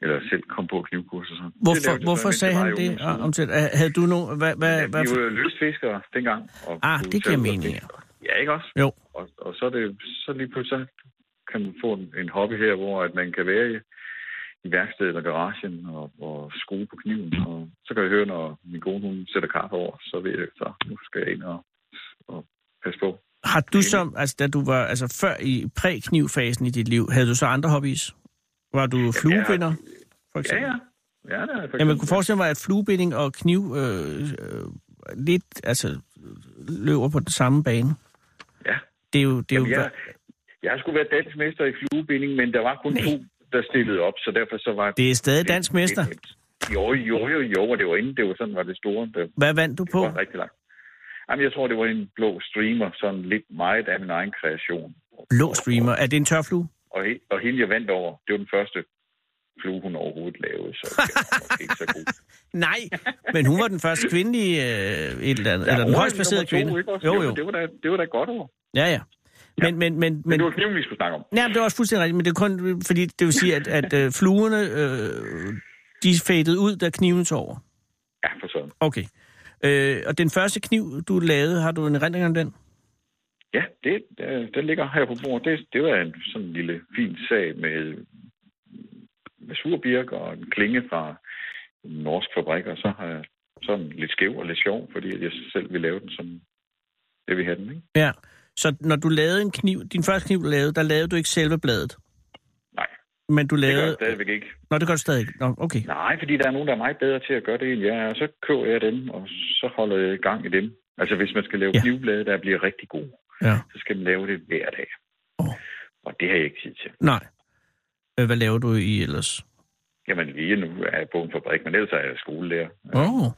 Eller selv komme på knivkurser. Så. Det
Hvorfor,
lavede jeg så,
det hvorfor
mens
sagde
jeg var
han det?
i
øh,
ungdomsskolen.
Om til, havde du nu... Hvad,
Ja,
hvad,
vi
hvad,
var jo løsfiskere dengang. Og
Ah,
kunne
det
tage
giver
ud og
mening,
fiske. Ja, ikke også?
Jo.
Og, og så, er det, så lige pludselig så kan man få en, en hobby her, hvor at man kan være i, i værkstedet eller garagen og, og skrue på kniven. Og så kan jeg høre, når min kone hun sætter kaffe over, så ved jeg, så nu skal jeg ind og, og passe på.
har du som... Altså, da du var... Altså, før i præ-knivfasen i dit liv, havde du så andre hobbies? Var du fluebinder, for
Ja,
eksempel?
ja. Ja, det er for
Jamen,
eksempel-
jeg kunne forestille mig, at fluebinding og kniv øh, øh, lidt altså, løber på den samme bane.
Ja.
Det er jo... Det er
Jamen,
jo
jeg, jeg skulle være dansk mester i fluebinding, men der var kun
Nej.
to, der stillede op, så derfor så var
det er stadig dansk mester.
Jo, jo, jo, jo, og det var inden, det var sådan, var det store, der
Hvad vandt du
Det
på?
var rigtig langt. Jamen, jeg tror, det var en blå streamer, sådan lidt meget af min egen kreation.
Blå streamer. Er det en tørflue?
Og, he- og hende, jeg vandt over, det var den første flue, hun overhovedet lavede, så det var nok ikke så
[LAUGHS]
god.
Nej, men hun var den første kvindelige øh, et eller andet. eller den
Overhovedet
højst placerede
nummer to,
kvinde.
ikke også?
Jo,
Det var-
jo.
Det var, da, det var da et godt over.
Ja, ja. Men, men, men,
Men
men,
det var kniven, vi skulle snakke om.
nej, men det er også fuldstændig rigtigt, men det er kun, fordi det vil sige, at, at øh, fluerne, øh, de fadede ud, da kniven tog over.
Ja, for sådan.
Okay. Øh, og den første kniv, du lavede, har du en erindring om den?
Ja, det, øh, den ligger her på bordet. Det, det var en sådan en lille fin sag med, med surbirk og en klinge fra en norsk fabrik, og så har jeg sådan lidt skæv og lidt sjov, fordi jeg selv ville lave den, som jeg ville have den. Ikke?
Ja. Så når du lavede en kniv, din første kniv, du lavede, der lavede du ikke selve bladet,
Nej,
men du
det gør
lavede...
jeg stadigvæk ikke.
Nå, det gør du stadig ikke. Nå, okay.
Nej, fordi der er nogen, der er meget bedre til at gøre det, end jeg er. Og så køber jeg dem, og så holder jeg gang i dem. Altså, hvis man skal lave
Ja.
ja. knivblade, der bliver rigtig gode,
Ja.
så skal man lave det hver dag.
Åh.
Og det har jeg ikke tid til.
Nej. Øh, Hvad laver du i ellers?
Jamen, lige nu er jeg på en fabrik, men ellers er jeg skolelærer.
Åh. Oh.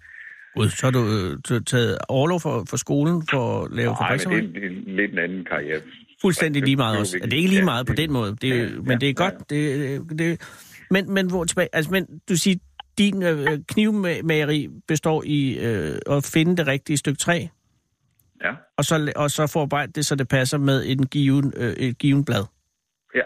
Gud, så har du øh, t- taget overlov for, for skolen for at lave
Nej, men
fabriksarbejde?
det er, en, det er lidt en anden karriere.
Fuldstændig
det-
lige
det
meget
er jo
også. Ja,
vigtigt.
Det er ikke lige
Ja,
meget på
det-
den måde, det, er jo-
ja,
men det er
ja,
godt. Det, øh, det, men, men hvor tilbage... Altså, men du siger, din øh, knivmageri består i øh, at finde det rigtige stykke træ,
Ja,
og så, la- og så forarbejde det, så det passer med en given, øh, et given blad.
ja.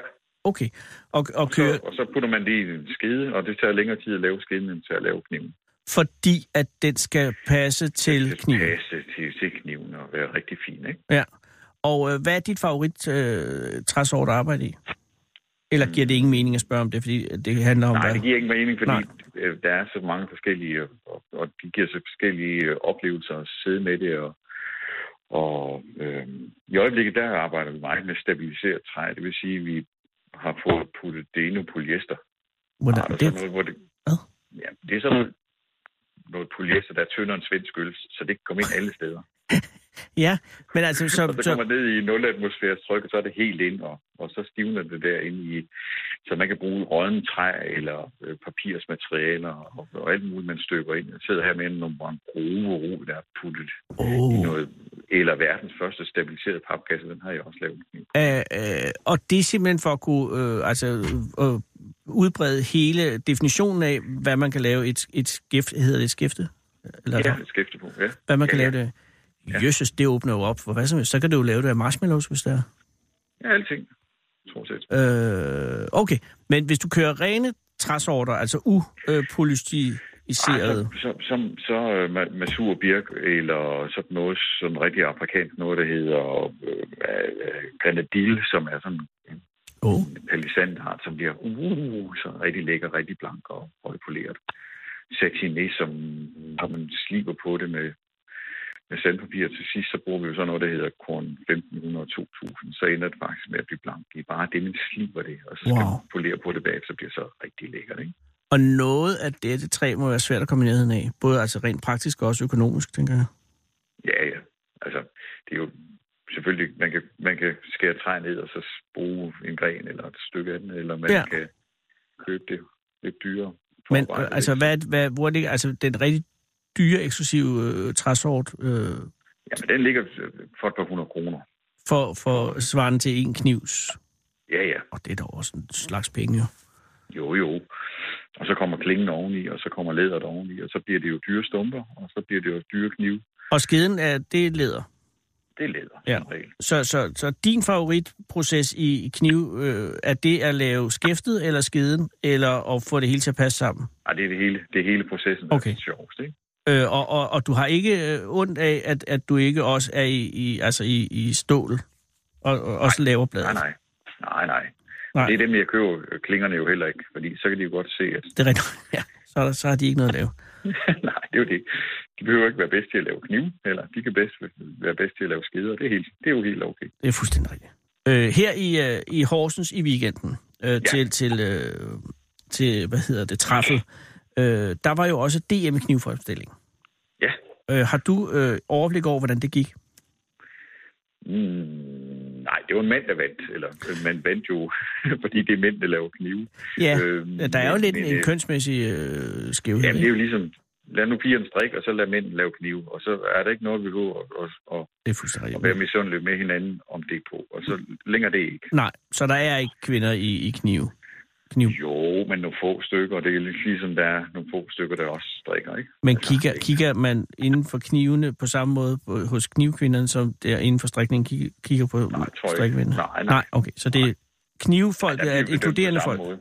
Okay. Og, og køre,
Så, og så putter man det i en skede, og det tager længere tid at lave skeden, end til at lave kniven.
fordi at den skal passe til
Det
kniven.
passe til, til kniven og være rigtig fin, ikke?
Ja. Og øh, hvad er dit favorit øh, træsort at arbejde i? Eller giver det ingen mening at spørge om det, fordi det handler om...
Mm. Nej,
hvad?
det giver ikke mening, fordi
Nej.
Nej. der er så mange forskellige, øh, og, og de giver så forskellige øh, oplevelser at sidde med det. Og, og øh, i øjeblikket, der arbejder vi meget med stabiliseret træ. Det vil sige, at vi har fået puttet det ene polyester.
Hvordan,
Arter, sådan
det,
noget, hvor det,
Hvad?
ja, det er sådan noget, noget polyester, der er tyndere end svensk øl, så det kan komme ind alle steder.
ja, men altså,
Og
så,
så
så,
kommer det ned i 0 atmosfæres tryk, og så er det helt ind, og, og så stivner det derinde i, så man kan bruge rådden træ eller øh, papirsmaterialer og, og alt muligt, man støber ind. Jeg sidder her med en nummer en ro, der er puttet oh. i
oh,
noget, eller verdens første stabiliserede papkasse, den har jeg også lavet.
øh, øh, og det er simpelthen for at kunne øh, altså, øh, udbrede hele definitionen af, hvad man kan lave et, et skift, hedder det et skifte? Eller,
Ja, et skæfte på, ja.
hvad man
Ja,
kan
ja.
lave det af. Jøsses, det åbner jo op for hvad som helst. Så kan du jo lave det af marshmallows, hvis det er.
Ja, alting, stort set.
Øh, okay, men hvis du kører rene træsorter, altså upolystiserede...
Så, så, så, så øh, ma- masur birk, eller sådan noget, sådan rigtig afrikansk noget, der hedder øh, øh, grenadil, som er sådan en
Åh,
palisandart, som bliver uh, så rigtig lækker, rigtig blank og højpoleret. Satiné, som når man sliber på det med, med sandpapir. Til sidst så bruger vi jo sådan noget, der hedder korn 1500-2000. Så ender det faktisk med at blive blank i bare det, man sliber det. Og så skal
Wow.
wow. man polere på det bag, så bliver det så rigtig lækkert. Ikke?
og noget af dette træ må være svært at komme i nærheden af. Både altså rent praktisk og også økonomisk, tænker jeg.
Ja, ja. Altså, det er jo selvfølgelig, man kan, man kan skære træ ned og så bruge en gren eller et stykke af den, eller man
Ja.
ja. kan købe det lidt dyrere.
Men
Forarbejde
øh, altså,
lidt.
hvad, hvad, hvor ligger altså, den rigtig dyre, eksklusive øh, træsort øh,
Jamen, den ligger øh, for et par hundrede kroner.
for, for svaren til en knivs?
Ja, ja.
Og det er da også en slags penge, jo.
Jo, jo. Og så kommer klingen oveni, og så kommer læderet oveni, og så bliver det jo dyre stumper, og så bliver det jo dyre knive.
Og skeden er, det er læder.
Det er læder,
Ja.
ja. som regel.
Så, så, så din favoritproces i i kniv, øh, er det at lave skæftet eller skeden, eller at få det hele til at passe sammen?
Ej, det er det hele, det er hele processen, der
Okay.
er det sjoveste, ikke?
Øh, og, og, og du har ikke øh, ondt af, at, at du ikke også er i, i, altså i, i stål, og, og også laver bladet?
Nej, nej. Nej, nej.
Nej.
nej. Det er dem, jeg køber øh, klingerne jo heller ikke, fordi så kan de jo godt se, at [LAUGHS]
Det er rigtigt. [LAUGHS] Ja, så, er der, så har de ikke noget at lave.
nej, det er jo det. De behøver ikke være bedst til at lave knive, eller de kan bedst være bedst til at lave skeder. Det er, helt, det er jo helt okay.
Det er fuldstændig rigtigt. Øh, her i, øh, i Horsens i weekenden, øh, ja. til, til, øh, til, hvad hedder det, træffet, øh, der var jo også DM i knivforstilling.
Ja.
Øh, har du øh, overblik over, hvordan det gik?
Mm, nej, det var en mand, der vandt. Eller øh, man vandt jo, [LAUGHS] fordi det er mænd, der laver knive.
Ja,
Øhm,
ja, der er jo
men-
lidt
men,
en
øh,
kønsmæssig øh, skævhed.
Jamen, det
ikke?
er jo ligesom, lad nu pigerne strikke, og så lad mænd lave knive. Og så er der ikke noget, vi går og, og, og,
det er fuldstændig
og være
rigtigt.
misundelige med hinanden om det på. Og så længere det ikke.
Nej, så der er ikke kvinder i, i knive. kniv.
Jo, men nogle få stykker, og det er lidt ligesom, der er nogle få stykker, der også strikker, ikke?
Men
Altså,
kigger,
det-
kigger man inden for knivene på samme måde på, hos knivkvinderne, som der inden for strækningen kigger, kigger på
Nej, tror jeg ikke.
strækkvinderne?
Nej, nej.
nej, okay. Så det er
Ja,
knivfolket
vi
er et
bedømt på
inkluderende
samme
folk.
måde.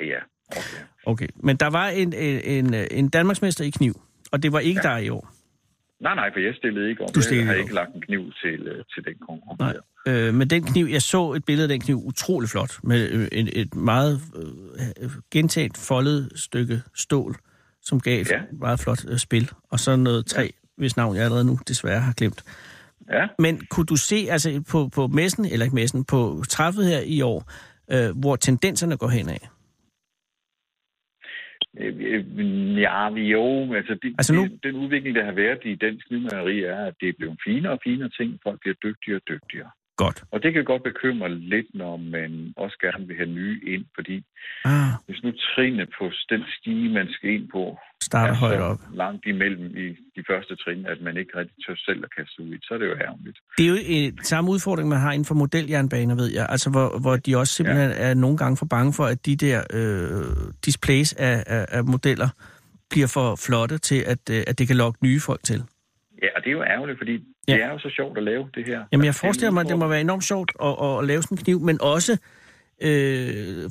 Ja, ja. Okay.
Okay, men der var en, en, en, øh, en Danmarksmester i kniv, og det var ikke ja. dig i år.
Nej, nej, for jeg stillede ikke om.
Du stillede
jeg har
ikke
ikke lagt en kniv til, øh, til den konkurrence.
Nej.
der.
Øh, men den kniv, jeg så et billede af den kniv, utrolig flot, med øh, en, et meget øh, gentagent foldet stykke stål, som gav et
Ja.
meget flot øh, spil. Og så noget tre, hvis navn jeg allerede nu desværre har glemt.
Ja,
Men kunne du se altså på, på messen, eller ikke messen, på træffet her i år, øh, hvor tendenserne går henad?
Øh, øh, ja vi- jo, altså, det,
Altså
altså
nu-
nu... den udvikling, der har været i dansk nymalleri, er, at det er blevet finere og finere ting. Folk bliver dygtigere og dygtigere.
Godt.
Og det kan godt bekymre lidt, når man også gerne vil have nye ind, fordi
Ah,
hvis nu trinene på den stige, man skal ind på,
starter
er
højt
så
op.
langt imellem i de første trin, at man ikke rigtig tør selv at kaste sig ud i, det, så er det jo ærgerligt.
Det er jo øh, samme udfordring, man har inden for modeljernbaner, ved jeg. Altså, hvor, hvor de også simpelthen ja. er nogle gange for bange for, at de der øh, displays af, af, af modeller bliver for flotte til, at, øh, at det kan lokke nye folk til.
Ja, og det er jo ærgerligt, fordi
Ja.
ja. det er jo så sjovt at lave det her.
Jamen, jeg
Altså,
forestiller mig, at det må
udfordring.
være enormt sjovt at, at, at lave sådan en kniv, men også øh,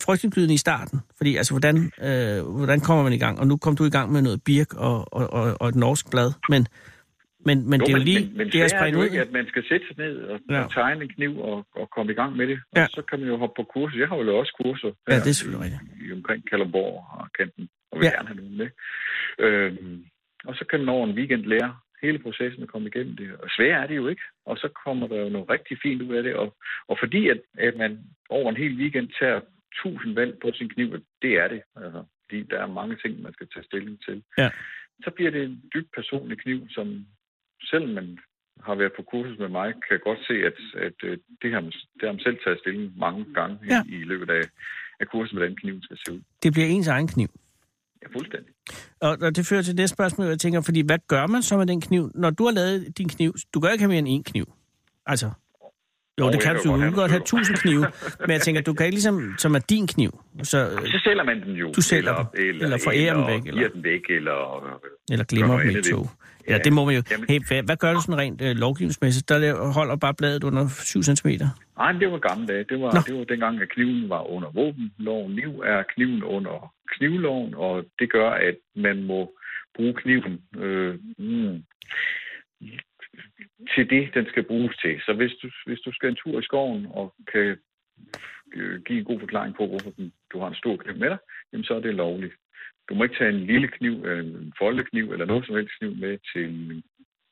frygtindgydende i starten. Fordi, altså, hvordan, øh, hvordan kommer man i gang? Og nu kom du i gang med noget birk og, og, og, og et norsk blad, men, men, men jo, det er jo lige
men, men
det, jeg
svært er
springer
jo
ud.
ikke,
i.
at man skal sætte sig ned og,
Ja.
ja. og tegne en kniv og, og komme i gang med det. Og
Ja.
ja. så kan man jo hoppe på kurser. Jeg har jo også kurser
Ja,
her
det er selvfølgelig rigtigt.
i, omkring Kalundborg og kanten, og vil
Ja.
ja. gerne have nogen med. Øhm, og så kan man over en weekend lære hele processen at komme igennem det. Og svært er det jo ikke. Og så kommer der jo noget rigtig fint ud af det. Og, og fordi at, at man over en hel weekend tager tusind valg på sin kniv, og det er det. Altså, fordi der er mange ting, man skal tage stilling til
Ja.
så bliver det en dybt personlig kniv, som selvom man har været på kursus med mig, kan godt se, at, at øh, det har man, det har man selv taget stilling mange gange
Ja.
ja. i, i løbet af, af kurset, hvordan kniven skal se ud.
Det bliver ens egen kniv.
Ja, fuldstændig.
Og, og det fører til det spørgsmål, jeg tænker, fordi hvad gør man så med den kniv? Når du har lavet din kniv, du gør ikke have mere end én kniv. Altså, jo,
Åh,
det
jeg
kan
kan
du. Du
godt
kan
have
godt have
nogle
tusind knive, men jeg tænker, du kan ikke ligesom, som er din kniv. Så, øh,
Så sælger man den jo.
Du sælger den. Eller forærer den væk,
Eller
eller-
giver den væk, eller...
eller glemmer
Gør
dem i et
noget andet
tog.
ved.
Ja,
Ja.
det må man jo.
Jamen-
Hey, hvad, hvad gør du sådan rent øh, lovgivningsmæssigt? Der laver- holder bare bladet under 7 cm.
Nej, men det var gamle dage. Det var,
Nå.
det var dengang, at kniven var under våbenloven. Nu er kniven under knivloven, og det gør, at man må bruge kniven øh, mm, til det, den skal bruges til. Så hvis du, hvis du skal en tur i skoven og kan øh, give en god forklaring på, hvorfor den, du har en stor kniv med dig, jamen så er det lovligt. Du må ikke tage en lille kniv, øh, en foldekniv eller noget som helst kniv med til en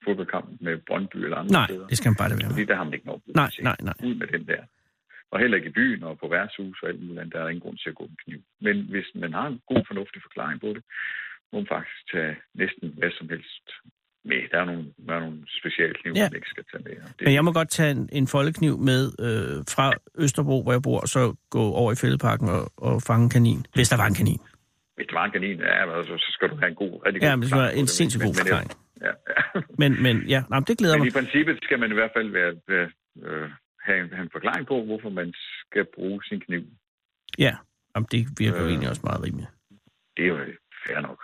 fodboldkamp med Brøndby eller andre
Nej,
steder.
det skal man bare lade være med.
Fordi der har man ikke noget brug
Nej,
til.
nej, nej.
Ud med den der. Og heller ikke i byen og på værtshus og alt muligt andet, der er ingen grund til at gå med kniv. Men hvis man har en god, fornuftig forklaring på det, må man faktisk tage næsten hvad som helst med. Der er nogle, der er nogle specielle kniv,
Ja.
man ikke skal tage med. Og Det,
Men jeg må godt tage en, en foldekniv med øh, fra Østerbro, hvor jeg bor, og så gå over i fældeparken og, og fange en kanin. Hvis der var en kanin.
Hvis det var en kanin, ja, men altså, så skal du have en god, rigtig god
Ja, men det skal
forklaring
være
på
en
det.
sindssygt
Men-
god
men-
forklaring.
Ja, [LAUGHS] ja.
Men, men ja, nej, men det glæder
Men
mig.
i princippet skal man i hvert fald være, være, øh, have, en, have en forklaring på, hvorfor man skal bruge sin kniv.
Ja, jamen, det virker jo
Øh.
egentlig også meget rimeligt.
Det er jo fair nok.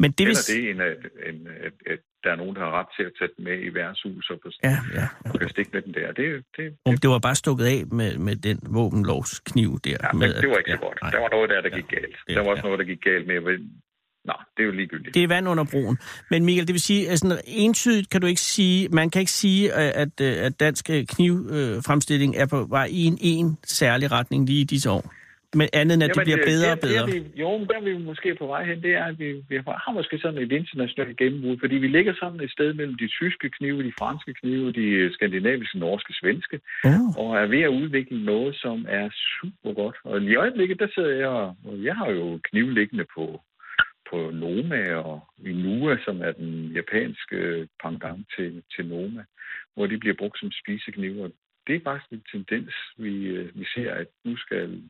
Men det
Det
vil...
Eller det, end at, end at, at der er nogen, der har ret til at tage den med i værtshus og på
Ja, ja. ja.
kan stikke med den der. Det, det,
Om det var bare stukket af med, med den våbenlovskniv der.
ja,
med,
men det var ikke så
at-
godt.
nej.
Der var noget der, der
Ja.
gik galt.
Ja,
Der var også
ja.
noget, der gik galt med, men Nå, det er jo ligegyldigt.
Det er vand under broen. Men Michael, det vil sige, at sådan entydigt kan du ikke sige, man kan ikke sige, at, at, øh, at dansk øh, knivfremstilling øh, er på vej i en, en særlig retning lige i disse år. Men andet end, at det
Jamen,
bliver bedre
der-
og bedre.
Der, vi, jo, men der er vi måske på vej hen, det er, at vi, vi har måske sådan et internationalt gennembrud, fordi vi ligger sådan et sted mellem de tyske knive, de franske knive, de øh, skandinaviske, norske, svenske,
Oh.
og er ved at udvikle noget, som er super godt. Og i øjeblikket, der sidder jeg, og og jeg har jo kniv liggende på, på Noma og Inua, som er den japanske øh, pendant til, til Noma, hvor de bliver brugt som spiseknive. Og det er faktisk en tendens, vi, øh, vi ser, at nu skal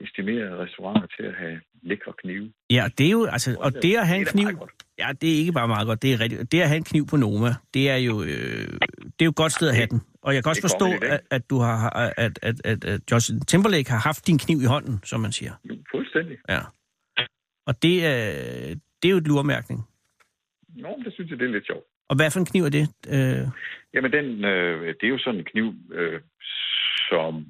estimerede restauranter til at have lækre knive.
Ja, det er jo, altså, og det at have en
Det er da meget
kniv, ja, det er ikke bare meget godt, det er rigtigt. Det at have en kniv på Noma, det er jo, øh, det er jo et godt sted at have den. Og jeg kan også
det er
forstå,
kongeligt, ikke?
at, at, du har, at, at, at, at Justin Timberlake har haft din kniv i hånden, som man siger.
Jo, fuldstændig.
Ja. Og det, øh, det er jo et luremærkning.
Nå, men det synes jeg, det er lidt sjovt.
Og hvad for en kniv er det? Øh,
Jamen, den, øh, det er jo sådan en kniv, øh, som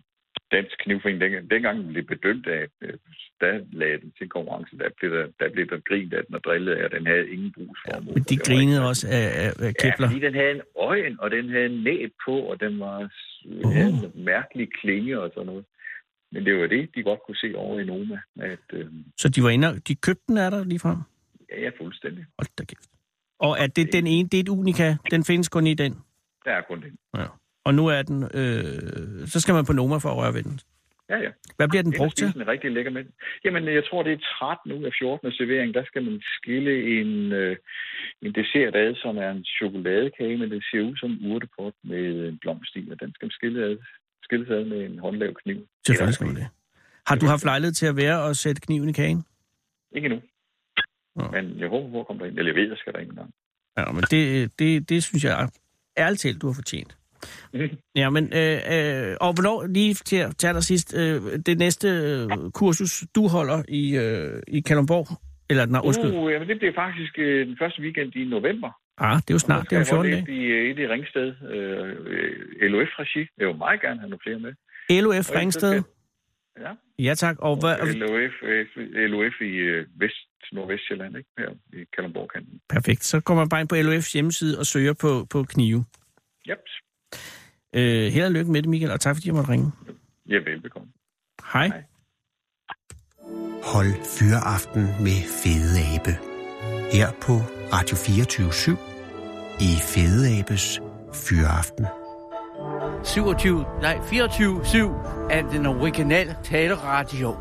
Dansk Knivforening, dengang, dengang den blev bedømt af, øh, der lagde den til en konkurrence, der blev der, der, blev der grint af den og drillet af, og den havde ingen brugsformål.
Men de
Det var
grinede også af, af, af
Ja,
Kepler.
fordi den havde en øjen, og den havde en næb på, og den var
Uh.
uh. havde en mærkelig klinge og sådan noget. Men det var det, de godt kunne se over i Noma, at øh,
Så de var inde og, de købte den af dig ligefrem?
Ja, fuldstændig.
Hold da kæft. Og er det den ene, det er et unika, den findes kun i den?
Der er kun den.
Ja. Og nu er den, øh, så skal man på Noma for at røre ved den.
Ja, ja.
Hvad bliver den
Ellers
brugt
spiser
til?
den rigtig lækker med. Jamen, jeg tror, det er 13 ud af 14 servering. Der skal man skille en, øh, en dessert ad, som er en chokoladekage, men det ser ud som en urtepot med en blomst i, og den skal man skille ad, skilles ad med en håndlav kniv.
Selvfølgelig skal man det. Har du haft lejlighed til at være og sætte kniven i kagen?
Ikke endnu.
Nå.
Men jeg håber, hvor kommer der ind. Eller jeg ved, jeg skal der ikke engang.
Ja, men det, det, det synes jeg ærligt talt, du har [LAUGHS] fortjent. Ja, men, øh, øh, og hvornår, lige til at tage dig sidst, øh, det næste øh, kursus, du holder i, øh, i Kalundborg, eller nej, undskyld, uh.
Uh, jamen, det bliver faktisk øh, den første weekend i november.
ah, det er jo snart, det er om 14 dage.
I, øh, et i Ringsted. Øh, øh, LOF-regi. Jeg vil meget gerne have nogle flere med.
LOF
Og
Ringsted,
Ja.
ja tak, og hvad,
LOF, øh, LOF i øh, Vest, Nordvestjylland, ikke? Her i Kalundborg-kanten.
perfekt, så går man bare ind på LOF's hjemmeside og søger på, på knive.
Yep.
Øh, held og lykke med det, Michael, og tak fordi jeg måtte ringe.
Ja, velbekomme.
Hej.
Hej.
Hold fyreaften med Fede Abe. Her på Radio 24 i Fede Abes Fyreaften.
27, nej 24-7 af den originale taleradio.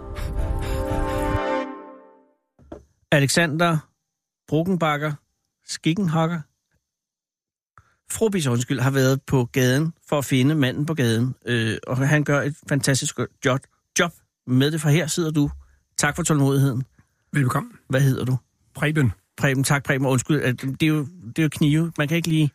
Alexander Bruckenbakker Skikkenhakker Frobis, undskyld, har været på gaden for at finde manden på gaden, øh, og han gør et fantastisk godt job, job med det, for her sidder du. Tak for tålmodigheden.
Velbekomme.
Hvad hedder du?
Preben.
Preben, tak Preben, og undskyld, at det er, jo, det er jo knive, man kan ikke lige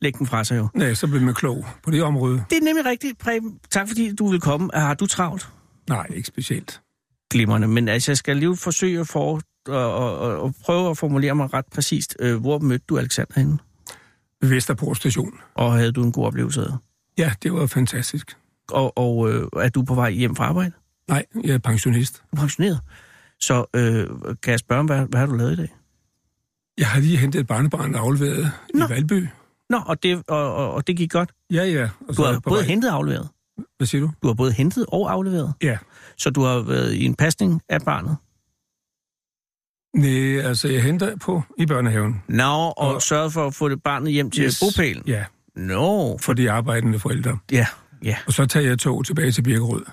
lægge dem fra sig jo.
Ja, øh, så blev man klog på det område.
Det er nemlig rigtigt, Preben. Tak fordi du vil komme. Har du travlt?
Nej, ikke specielt.
glimrende, men altså, jeg skal lige forsøge at for, og, og, og, og prøve at formulere mig ret præcist. Øh, hvor mødte du Alexander henne?
Ved Vesterbro station.
Og havde du en god oplevelse af det?
Ja, det var fantastisk.
Og, og øh, er du på vej hjem fra arbejde?
Nej, jeg er pensionist.
Du er pensioneret. Så øh, kan jeg spørge, om, hvad, hvad har du lavet i dag?
Jeg har lige hentet et barnebarn, der er afleveret
Nå.
i Valby.
Nå, og det, og, og, og det gik godt.
Ja, ja. Og
Du
er
har
jeg på
både
vej-
hentet og afleveret.
Hvad siger du?
Du har både hentet og afleveret.
Ja.
Så du har været i en pasning af barnet.
Nej, altså, jeg henter på i børnehaven.
Nå, og, og
Og-
sørget for at få det barnet hjem til yes. bopælen.
Ja,
Nå, for,
for de arbejdende forældre.
ja, ja.
Og så tager jeg tog tilbage til Birkerød.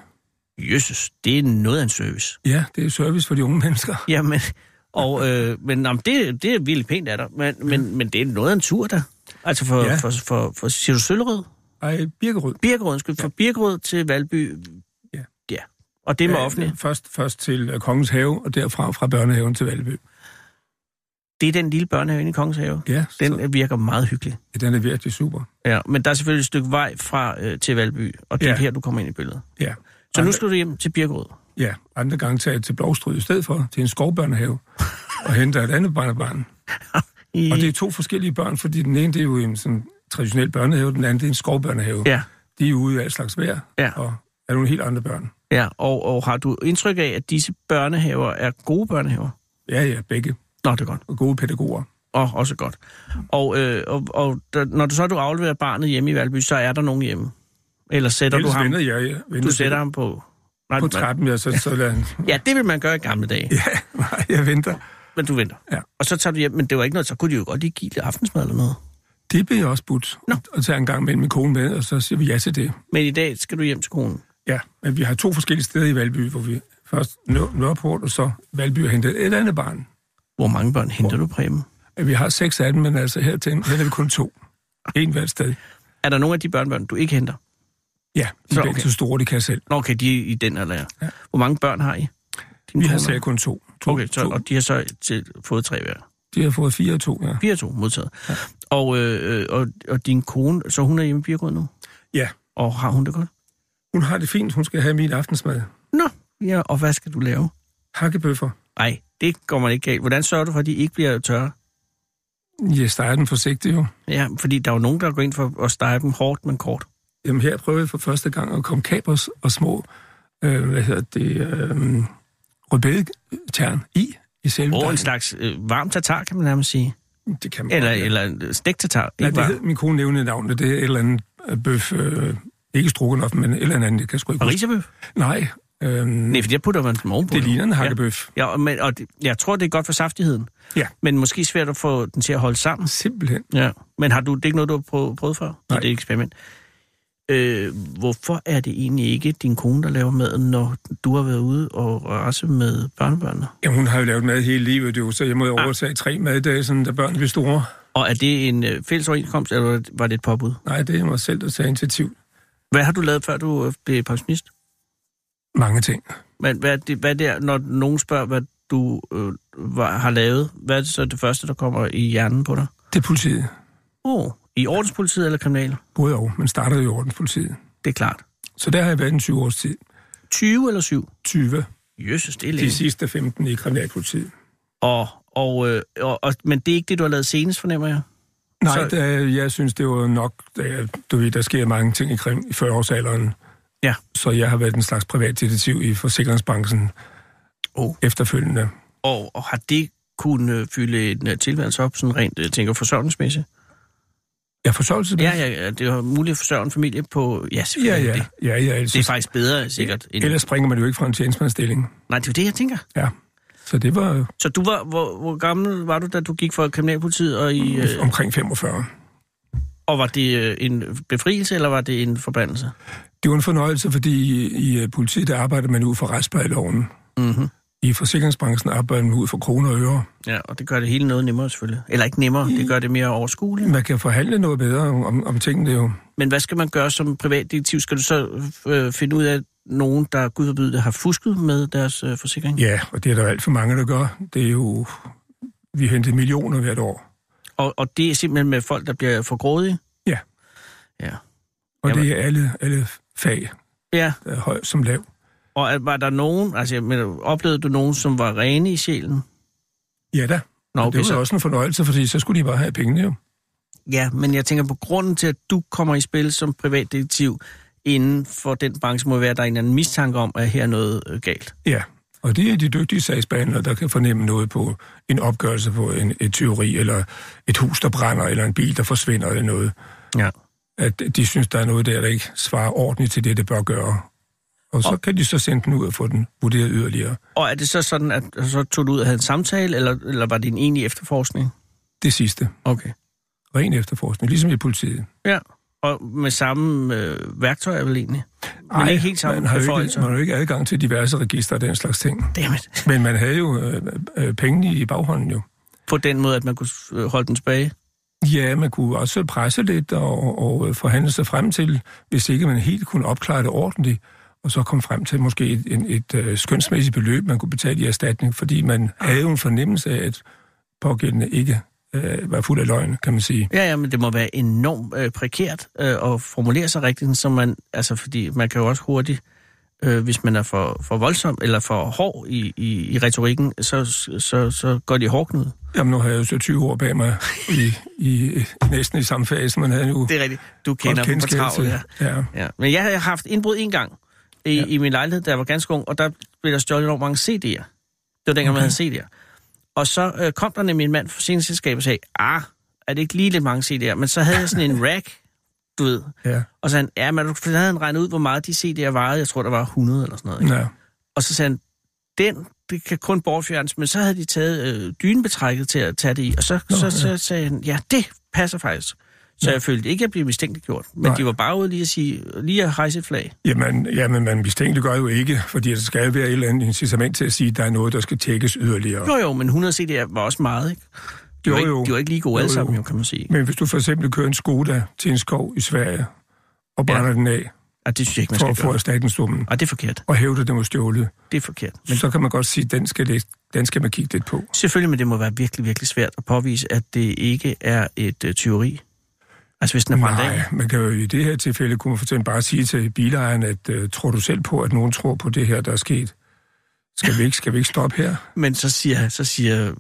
Jesus, det er noget af en service.
Ja, det er service for de unge mennesker.
Jamen, [LAUGHS] og, øh, men om det, det er virkelig pænt af dig, men, men, men det er noget af en tur, der. Altså for, ja.
Ja.
for, for, for siger du Søllerød?
Ej, Birkerød.
Birkerød, undskyld. Ja. Fra Birkerød til Valby.
Ja.
ja. Og det med ja, offentligt.
Først, først til øh, Kongens Have, og derfra fra børnehaven til Valby.
Det er den lille børnehave inde i Kongens Have.
Ja,
Den
så,
virker meget hyggelig.
ja, den er virkelig super.
Ja, men der er selvfølgelig et stykke vej fra øh, til Valby, og det er
Ja.
her, du kommer ind i billedet.
Ja.
Så nu
Andre-
skal du hjem til Birkerød.
Ja, andre gange tager jeg til Blovstrød i stedet for, til en
[LAUGHS]
skovbørnehave, og henter et andet barnebarn.
I...
[LAUGHS] Og det er to forskellige børn, fordi den ene det er jo en sådan, traditionel børnehave, den anden det er en skovbørnehave.
Ja,
De er jo ude i alt slags vejr,
Ja.
og er nogle helt andre børn.
ja. Og, og har du indtryk af, at disse børnehaver er gode børnehaver?
Ja, ja, begge.
Nå, det er godt.
Og gode pædagoger.
Og også godt. Og, øh, og, og der, når du så du afleverer barnet hjemme i Valby, så er der nogen hjemme. Eller sætter
Ellers
du ham,
vender jeg, jeg vender
du
til-
sætter ham på... Nej,
på
man-
trappen, ja, så,
[LAUGHS]
så lader han...
Ja, det vil man gøre i gamle dage, ja.
Ja, [LAUGHS] nej, jeg venter.
men du venter.
Ja.
Og så tager du hjem, men det var ikke noget, så kunne de jo godt lige give lidt aftensmad eller noget.
Det bliver jeg også budt
Nå.
at tage en gang med min kone med, og så siger vi ja til det.
Men i dag skal du hjem til konen.
Ja, men vi har to forskellige steder i Valby, hvor vi først Nør- Nørreport, og så Valby har hentet et andet barn.
Hvor mange børn henter du, Preben?
at vi har seks af dem, men altså her, til, her er vi kun to. En hvert sted.
Er der nogen af de børnebørn, du ikke henter?
Ja, de
Så,
er
okay.
okay. så store, de kan selv.
Nå, okay, de er i den alder. Ja.
Ja.
Hvor mange børn har I? Din
Vi har
kone?
selv kun to. to
Okay, så,
to.
og de har så til, fået tre hver.
de har fået fire og to, ja.
Fire og to modtaget. Ja. Og, øh, øh, og, og din kone, så hun er hjemme i Birkerød nu?
Ja,
Og har hun det godt?
hun har det fint. Hun skal have min aftensmad.
Nå, ja, og hvad skal du lave?
Hakkebøffer.
Nej, det går man ikke galt. Hvordan sørger du for, at de ikke bliver tørre?
Jeg starter den forsigtigt jo.
Ja, fordi der er jo nogen, der går ind for at stege dem hårdt, men kort.
Jamen her prøver jeg for første gang at komme kapers og små, øh, hvad hedder det, øh, rødbedetern i, i selve
Og en
dejen.
slags øh, varm tatar, kan man nærmest sige.
Det kan man
Eller,
godt, ja.
eller en øh, stegt tatar.
Nej,
Ikke
det
varm.
hed, min kone nævnte navnet, det er et eller andet øh, bøf, øh, ikke strukken men et eller andet, jeg kan sgu ikke huske.
Og risebøf.
Nej, Øhm,
Nej, for jeg putter man dem ovenpå.
det
jo.
ligner en hakkebøf.
Ja, ja og, men, og det, jeg tror, det er godt for saftigheden.
Ja.
Men måske svært at få den til at holde sammen.
Simpelthen.
Ja. Men har du, det er ikke noget, du har prøvet, prøvet før?
Nej.
I det eksperiment. Øh, hvorfor er det egentlig ikke din kone, der laver maden, når du har været ude og rase med børnebørnene?
Ja, hun har jo lavet mad hele livet, jo, så jeg må jo
Ah.
overtage tre maddage, sådan, da børnene blev store.
Og er det en øh, fælles overenskomst, eller var det et påbud?
Nej, det er mig selv, der tager initiativ.
Hvad har du lavet, før du øh, blev pensionist?
Mange ting.
Men hvad er det, hvad er det når nogen spørger, hvad du øh, var, har lavet? Hvad er det så det første, der kommer i hjernen på dig?
Det er politiet.
Oh, i ordenspolitiet eller kriminal?
Både og. Man startede i ordenspolitiet.
Det er klart.
Så der har jeg været en 20 års tid.
20 eller 7?
20.
Jesus, det er
De
længe.
sidste 15 i kriminalpolitiet.
Og, og, øh, og, og, men det er ikke det, du har lavet senest, fornemmer jeg?
Nej,
Så-
da, jeg synes, det var nok... Da, du ved, der sker mange ting i, krim, i 40-årsalderen.
Ja.
Så jeg har været en slags privatdetektiv i forsikringsbranchen
Oh.
efterfølgende.
Og, og har det kunne øh, fylde en øh, tilværelse op, sådan rent, jeg tænker, forsørgelsesmæssigt?
Jeg forsørgelse.
Ja, ja, ja, det er muligt at forsørge en familie på... Ja,
Ja,
selvfølgelig.
ja.
Det,
ja, ja altså,
det er faktisk bedre, sikkert. End,
Ellers springer man jo ikke fra en tjenestemandstilling.
Nej, det er jo det, jeg tænker.
Ja. Så det var jo
Så du var, hvor, hvor gammel var du, da du gik for kriminalpolitiet, og, i, øh,
omkring 45.
og var det øh, en befrielse, eller var det en forbandelse?
Det var en fornøjelse, fordi i, i øh, politiet der arbejder man ud for retsplejeloven.
Mm-hmm.
I forsikringsbranchen arbejder man ud for kroner og øre.
Ja, og det gør det hele noget nemmere selvfølgelig. Eller ikke nemmere, det gør det mere overskueligt.
Man kan forhandle noget bedre om, om tingene jo.
Men hvad skal man gøre som privatdetektiv? Skal du så øh, finde ud af, at nogen, der gud forbyde det, har fusket med deres øh, forsikring?
Ja, og det er der alt for mange, der gør. Det er jo... Vi henter millioner hvert år.
Og, og det er simpelthen med folk, der bliver for grådige?
Ja.
Ja.
Og
Jamen.
det er alle, alle fag,
Ja,
der er høj som lav.
og at- var der nogen, altså jeg mener, oplevede du nogen, som var rene i sjælen?
Ja da.
Nå, okay,
det var
så,
jo også en fornøjelse, fordi så skulle de bare have pengene jo.
Ja, men jeg tænker på grunden til, at du kommer i spil som privatdetektiv inden for den branche, må være, at der er en eller anden mistanke om, at her er noget øh, galt.
Ja, og det er de dygtige sagsbehandlere, der kan fornemme noget på en opgørelse på en, et teori, eller et hus, der brænder, eller en bil, der forsvinder, eller noget.
Ja.
At de synes, der er noget der, der ikke svarer ordentligt til det, det bør gøre. Og så kan de så sende den ud og få den vurderet yderligere.
Og er det så sådan, at så tog du ud og havde en samtale, eller, eller var det en egentlig efterforskning?
Det sidste.
Okay.
Ren efterforskning, ligesom i politiet.
Ja, og med samme øh, værktøjer vel egentlig? Men
Ej,
ikke helt samme
man har, jo ikke,
beføjelser.
man har jo ikke adgang til diverse register og den slags ting.
Dammit.
Men man havde jo øh, øh, pengene i baghånden jo.
På den måde, at man kunne øh, holde den tilbage.
Ja, man kunne også presse lidt og, og øh, forhandle sig frem til, hvis ikke man helt kunne opklare det ordentligt, og så komme frem til måske et, et, et øh, skønsmæssigt beløb, man kunne betale i erstatning, fordi man havde jo en fornemmelse af, at pågældende ikke øh, var fuld af løgn, kan man sige.
Ja, ja, men det må være enormt øh, prekært øh, at formulere sig rigtigt, så man, altså fordi man kan jo også hurtigt, øh, hvis man er for, for voldsom eller for hård i, i, i retorikken, så, så, så går de i hårdknud.
Jamen, nu har jeg jo så 20 år bag mig i, i næsten i samme fag, som man havde nu.
Det er rigtigt. Du kender dem på travl, ja.
ja.
ja. Men jeg har haft indbrud en gang i, ja. i min lejlighed, da jeg var ganske ung, og der blev der stjålet enormt mange CD'er. Det var dengang, okay. man havde CD'er. Og så øh, kom der nemlig en mand fra sceneselskabet og sagde, ah, er det ikke lige lidt mange CD'er? Men så havde jeg sådan [LAUGHS] en rack, du ved,
ja.
Og så sagde han, ja, men for så havde han regnet ud, hvor meget de CD'er varede. Jeg tror, der var 100 eller sådan noget. Ikke?
ja.
Og så sagde han, den det kan kun bortfjernes, men så havde de taget øh, dynebetrækket til at tage det i. Og så, Nå,
Nå,
så,
ja.
så sagde han, ja, det passer faktisk. Så jeg følte ikke, at jeg blev mistænkeliggjort. Men Nej.
Nej.
de var bare ude lige at, sige, lige at hejse et flag.
Jamen, jamen, man mistænkeliggør jo ikke, fordi der skal jo være et eller andet incitament til at sige, at der er noget, der skal tjekkes yderligere.
Jo jo, men 100 CD'er var også meget, ikke? De
Jo,
var, ikke,
jo.
de var ikke lige gode
Jo,
alle
jo.
sammen, jo, kan man sige.
Men hvis du for eksempel kører en Skoda til en skov i Sverige, og brænder ja. den af
Og det synes jeg ikke, man
for
skal
at få
gøre.
erstatningssummen,
Og det er forkert.
og hævder den mod stjålet,
Det er forkert.
men så kan man godt sige, at den skal, det, den skal man kigge lidt på.
Selvfølgelig, men det må være virkelig, virkelig svært at påvise, at det ikke er et øh, tyveri. Altså, hvis den er brændt
Nej,
af.
man kan jo i det her tilfælde kunne man for eksempel bare sige til bilejeren, at uh, tror du selv på, at nogen tror på det her, der er sket? Skal vi ikke, skal vi ikke stoppe her?
Men så siger, så siger øh,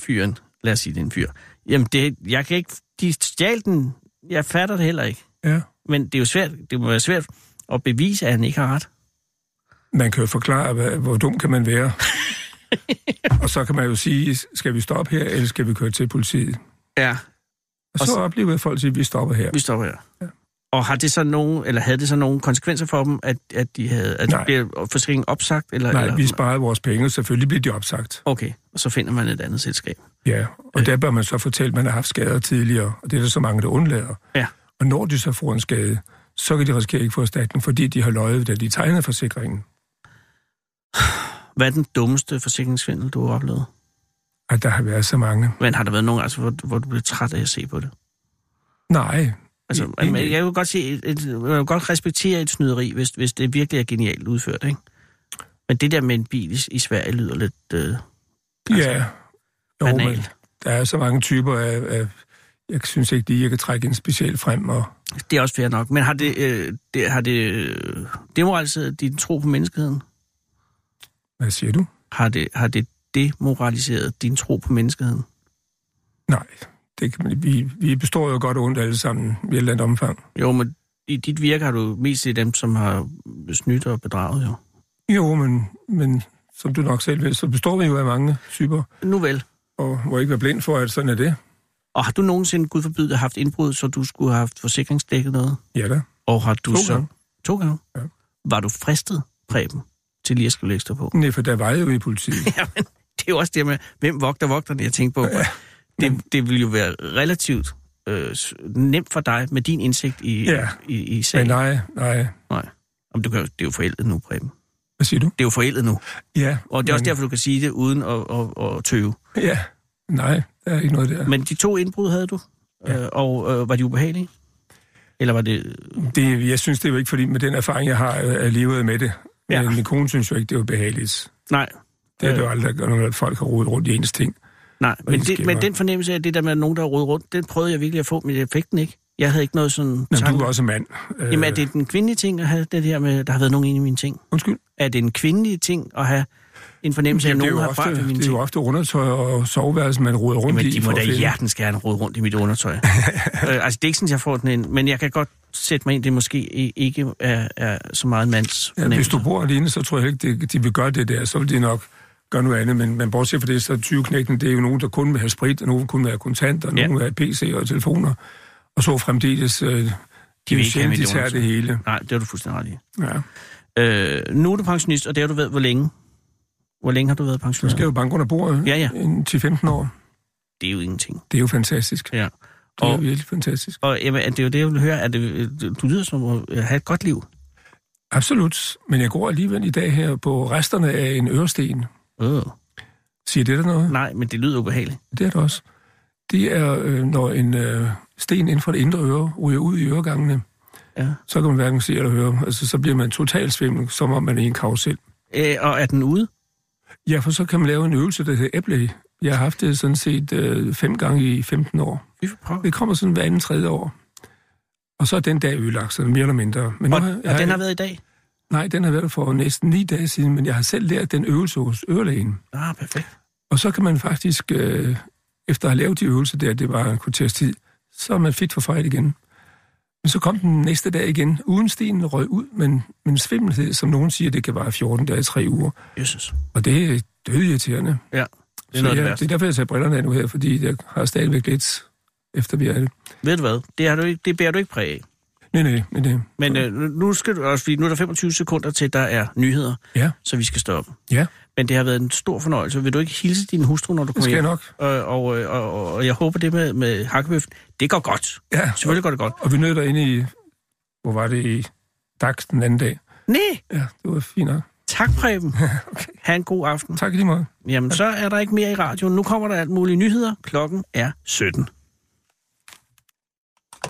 fyren, lad os sige, det er en fyr. Jamen, det, jeg kan ikke, de stjal den. Jeg fatter det heller ikke.
Ja.
Men det er jo svært, det må være svært at bevise, at han ikke har ret.
Man kan jo forklare, hvad, hvor dum kan
[LAUGHS]
man være. og så kan man jo sige, skal vi stoppe her, eller skal vi køre til politiet?
Ja.
Og så oplever folk, at vi stopper her.
Vi stopper her. Ja. Og har det så nogen, eller havde det så nogen konsekvenser for dem, at, at de havde, at
Nej.
de blev forsikringen opsagt? Eller,
Nej,
eller,
vi sparede vores penge, selvfølgelig bliver de opsagt.
Okay, og så finder man et andet selskab.
Ja, og der bør man så fortælle, at man har haft skader tidligere, og det er der så mange, der undlader.
Ja.
Og når de så får en skade, så kan de risikere at ikke få erstatning, fordi de har løjet, da de tegnede forsikringen.
Hvad er den dummeste forsikringssvindel, du har oplevet?
At der har været så mange.
Men har der været nogen, altså, hvor, hvor du blev træt af at se på det?
Nej,
Altså,
Egentlig
jeg,
ikke.
jeg vil godt se, et, et, jeg vil godt respektere et snyderi, hvis, hvis det virkelig er genialt udført, ikke? Men det der med en bil i, i Sverige lyder lidt... Øh, Altså,
ja. Jo,
banalt.
men der er så mange typer af, af... Jeg synes ikke lige, jeg kan trække en speciel frem, og
det er også fair nok. Men har det, øh, det, har det øh, demoraliseret din tro på menneskeheden?
hvad siger du?
Har det, har det demoraliseret din tro på menneskeheden?
Nej, det kan man, vi, vi består jo godt og ondt alle sammen i et eller andet omfang.
Jo, men i dit virke har du mest set dem, som har snydt og bedraget, jo.
Jo, men, men som du nok selv ved, så består vi jo af mange typer,
Nu vel.
og må ikke være blind for, at sådan er det.
Og har du nogensinde, gud forbyde, haft indbrud, så du skulle have haft forsikringsdækket noget?
Ja da.
Og har du
To
så...
gange.
To gange?
Ja.
Var du fristet, Preben, til lige at skrive ekstra på? [LAUGHS]
Nej, for der var jeg jo i politiet.
Jamen, det er jo også det med, hvem vogter vogterne, jeg tænker på. Ja, det, det vil jo være relativt øh, s- nemt for dig med din indsigt i,
Ja.
i, i
Men
sagen.
nej, nej.
Nej. Jamen, du kan, jo- det er jo forældet nu, Preben.
Hvad siger du?
Det er jo forældet nu.
Ja.
Og det er også
men-
derfor, du kan sige det uden at, at, at tøve.
Ja. Nej, der er ikke noget der.
Men de to indbrud havde du, ja. øh, og øh, var de ubehagelige? Eller var det...
Det, jeg synes, det er jo ikke fordi, med den erfaring, jeg har øh, er levet med det.
Ja.
Men min kone synes jo ikke, det var behageligt.
Nej,
Det er det jo
Øh.
aldrig, når folk har rodet rundt i ens ting.
nej. Men,
de
det, men
skæmmer.
den fornemmelse af det der med at nogen, der har rodet rundt, den prøvede jeg virkelig at få, men jeg fik den ikke. Jeg havde ikke noget sådan...
Nå,
tanke.
du er også mand. Øh,
Jamen, er det den kvindelige ting at have det her med, der har været nogen inde i mine ting?
Undskyld.
Er det en kvindelig ting at have en fornemmelse af, at
Jamen, det, er
nogen
jo
har rørt ved
ofte,
mine
det er
ting?
jo ofte undertøj og soveværelse, man roder rundt
Jamen,
i.
de må
for at
da
finde-
hjertens gerne rode rundt i mit
[LAUGHS]
undertøj. øh, altså, det er ikke sådan, jeg får den ind, men jeg kan godt sætte mig ind, det måske i- ikke er, er så meget en mands
Ja, hvis
fornemmelse.
du bor alene, så tror jeg ikke, de, de vil gøre det der. Så vil de nok gøre noget andet. Men, men bortset fra det, så 20 knækken, det er jo nogen, der kun vil have sprit, og nogen kun vil have kontanter, og
Ja.
nogen vil have PC og telefoner. Og så fremdeles, øh, de, de
ikke
vil
have
sjældent, de
mit
tager det hele.
Nej, det har du fuldstændig ret i.
Ja.
Øh, nu er du pensionist, og det har du været hvor længe? Hvor længe har du været
Du
pensionist?
skal jo banke under bordet
Ja, ja.
en 10-15 år.
Det er jo ingenting.
Det er jo fantastisk.
Ja.
Det er jo
Og,
virkelig fantastisk.
og jamen, det er jo det, jeg vil høre. Er det, øh, du lyder som at have et godt liv.
Absolut. Men jeg går alligevel i dag her på resterne af en øresten.
Øh.
Siger det der noget?
Nej, men det lyder ubehageligt.
Det er det også. Det er, øh, når en øh, sten inden for det indre øre ryger ud i øregangene,
Ja.
så kan man hverken se eller høre. Altså, så bliver man totalt svimmel, som om man er i en karusel.
Øh, og er den ude?
Ja, for så kan man lave en øvelse, der hedder æble. Jeg har haft det sådan set øh, fem gange i 15 år.
Vi får prøve.
Det kommer sådan hver anden tredje år. Og så er den dag ødelagt, sådan mere eller mindre. Men nu
Og,
har-
og
har
den
jeg-
har været i dag?
Nej, den har været for næsten ni dage siden, men jeg har selv lært den øvelse hos ørelægen.
Ah, perfekt.
Og så kan man faktisk, øh, efter at have lavet de øvelser der, det var en kvarters tid, så er man fit for fight igen. Men så kom den næste dag igen, uden stenen røg ud, men, men svimmelhed, som nogen siger, det kan vare 14 dage, 3 uger.
Jesus.
Og det er dødirriterende.
Ja, det er
Så
noget af det
jeg, det
værste.
er derfor, jeg tager brillerne af nu her, fordi jeg har stadigvæk lidt efter vi er det.
Ved du hvad? Det, har du ikke, det bærer du ikke præg af.
Nej, nej, nej, nej.
Men øh, nu- nu skal du også, fordi nu er der 25 sekunder til, der er nyheder,
Ja,
så vi skal stoppe.
ja,
Men det har været en stor fornøjelse. Vil du ikke hilse din hustru, når du
det
kommer
skal
hjem?
jeg nok.
Øh, og, øh, og, og, og jeg håber det med, med hakkebøffen, det går godt.
Ja,
Selvfølgelig går det godt.
og vi nød derinde i, hvor var det i DAX den anden dag.
Nej,
Ja, det var fint nok.
tak
[LAUGHS]
Preben. okay. Ha' en god aften.
Tak i lige måde.
Jamen, så er der ikke mere i radioen. Nu kommer der alt mulige nyheder. Klokken er 17.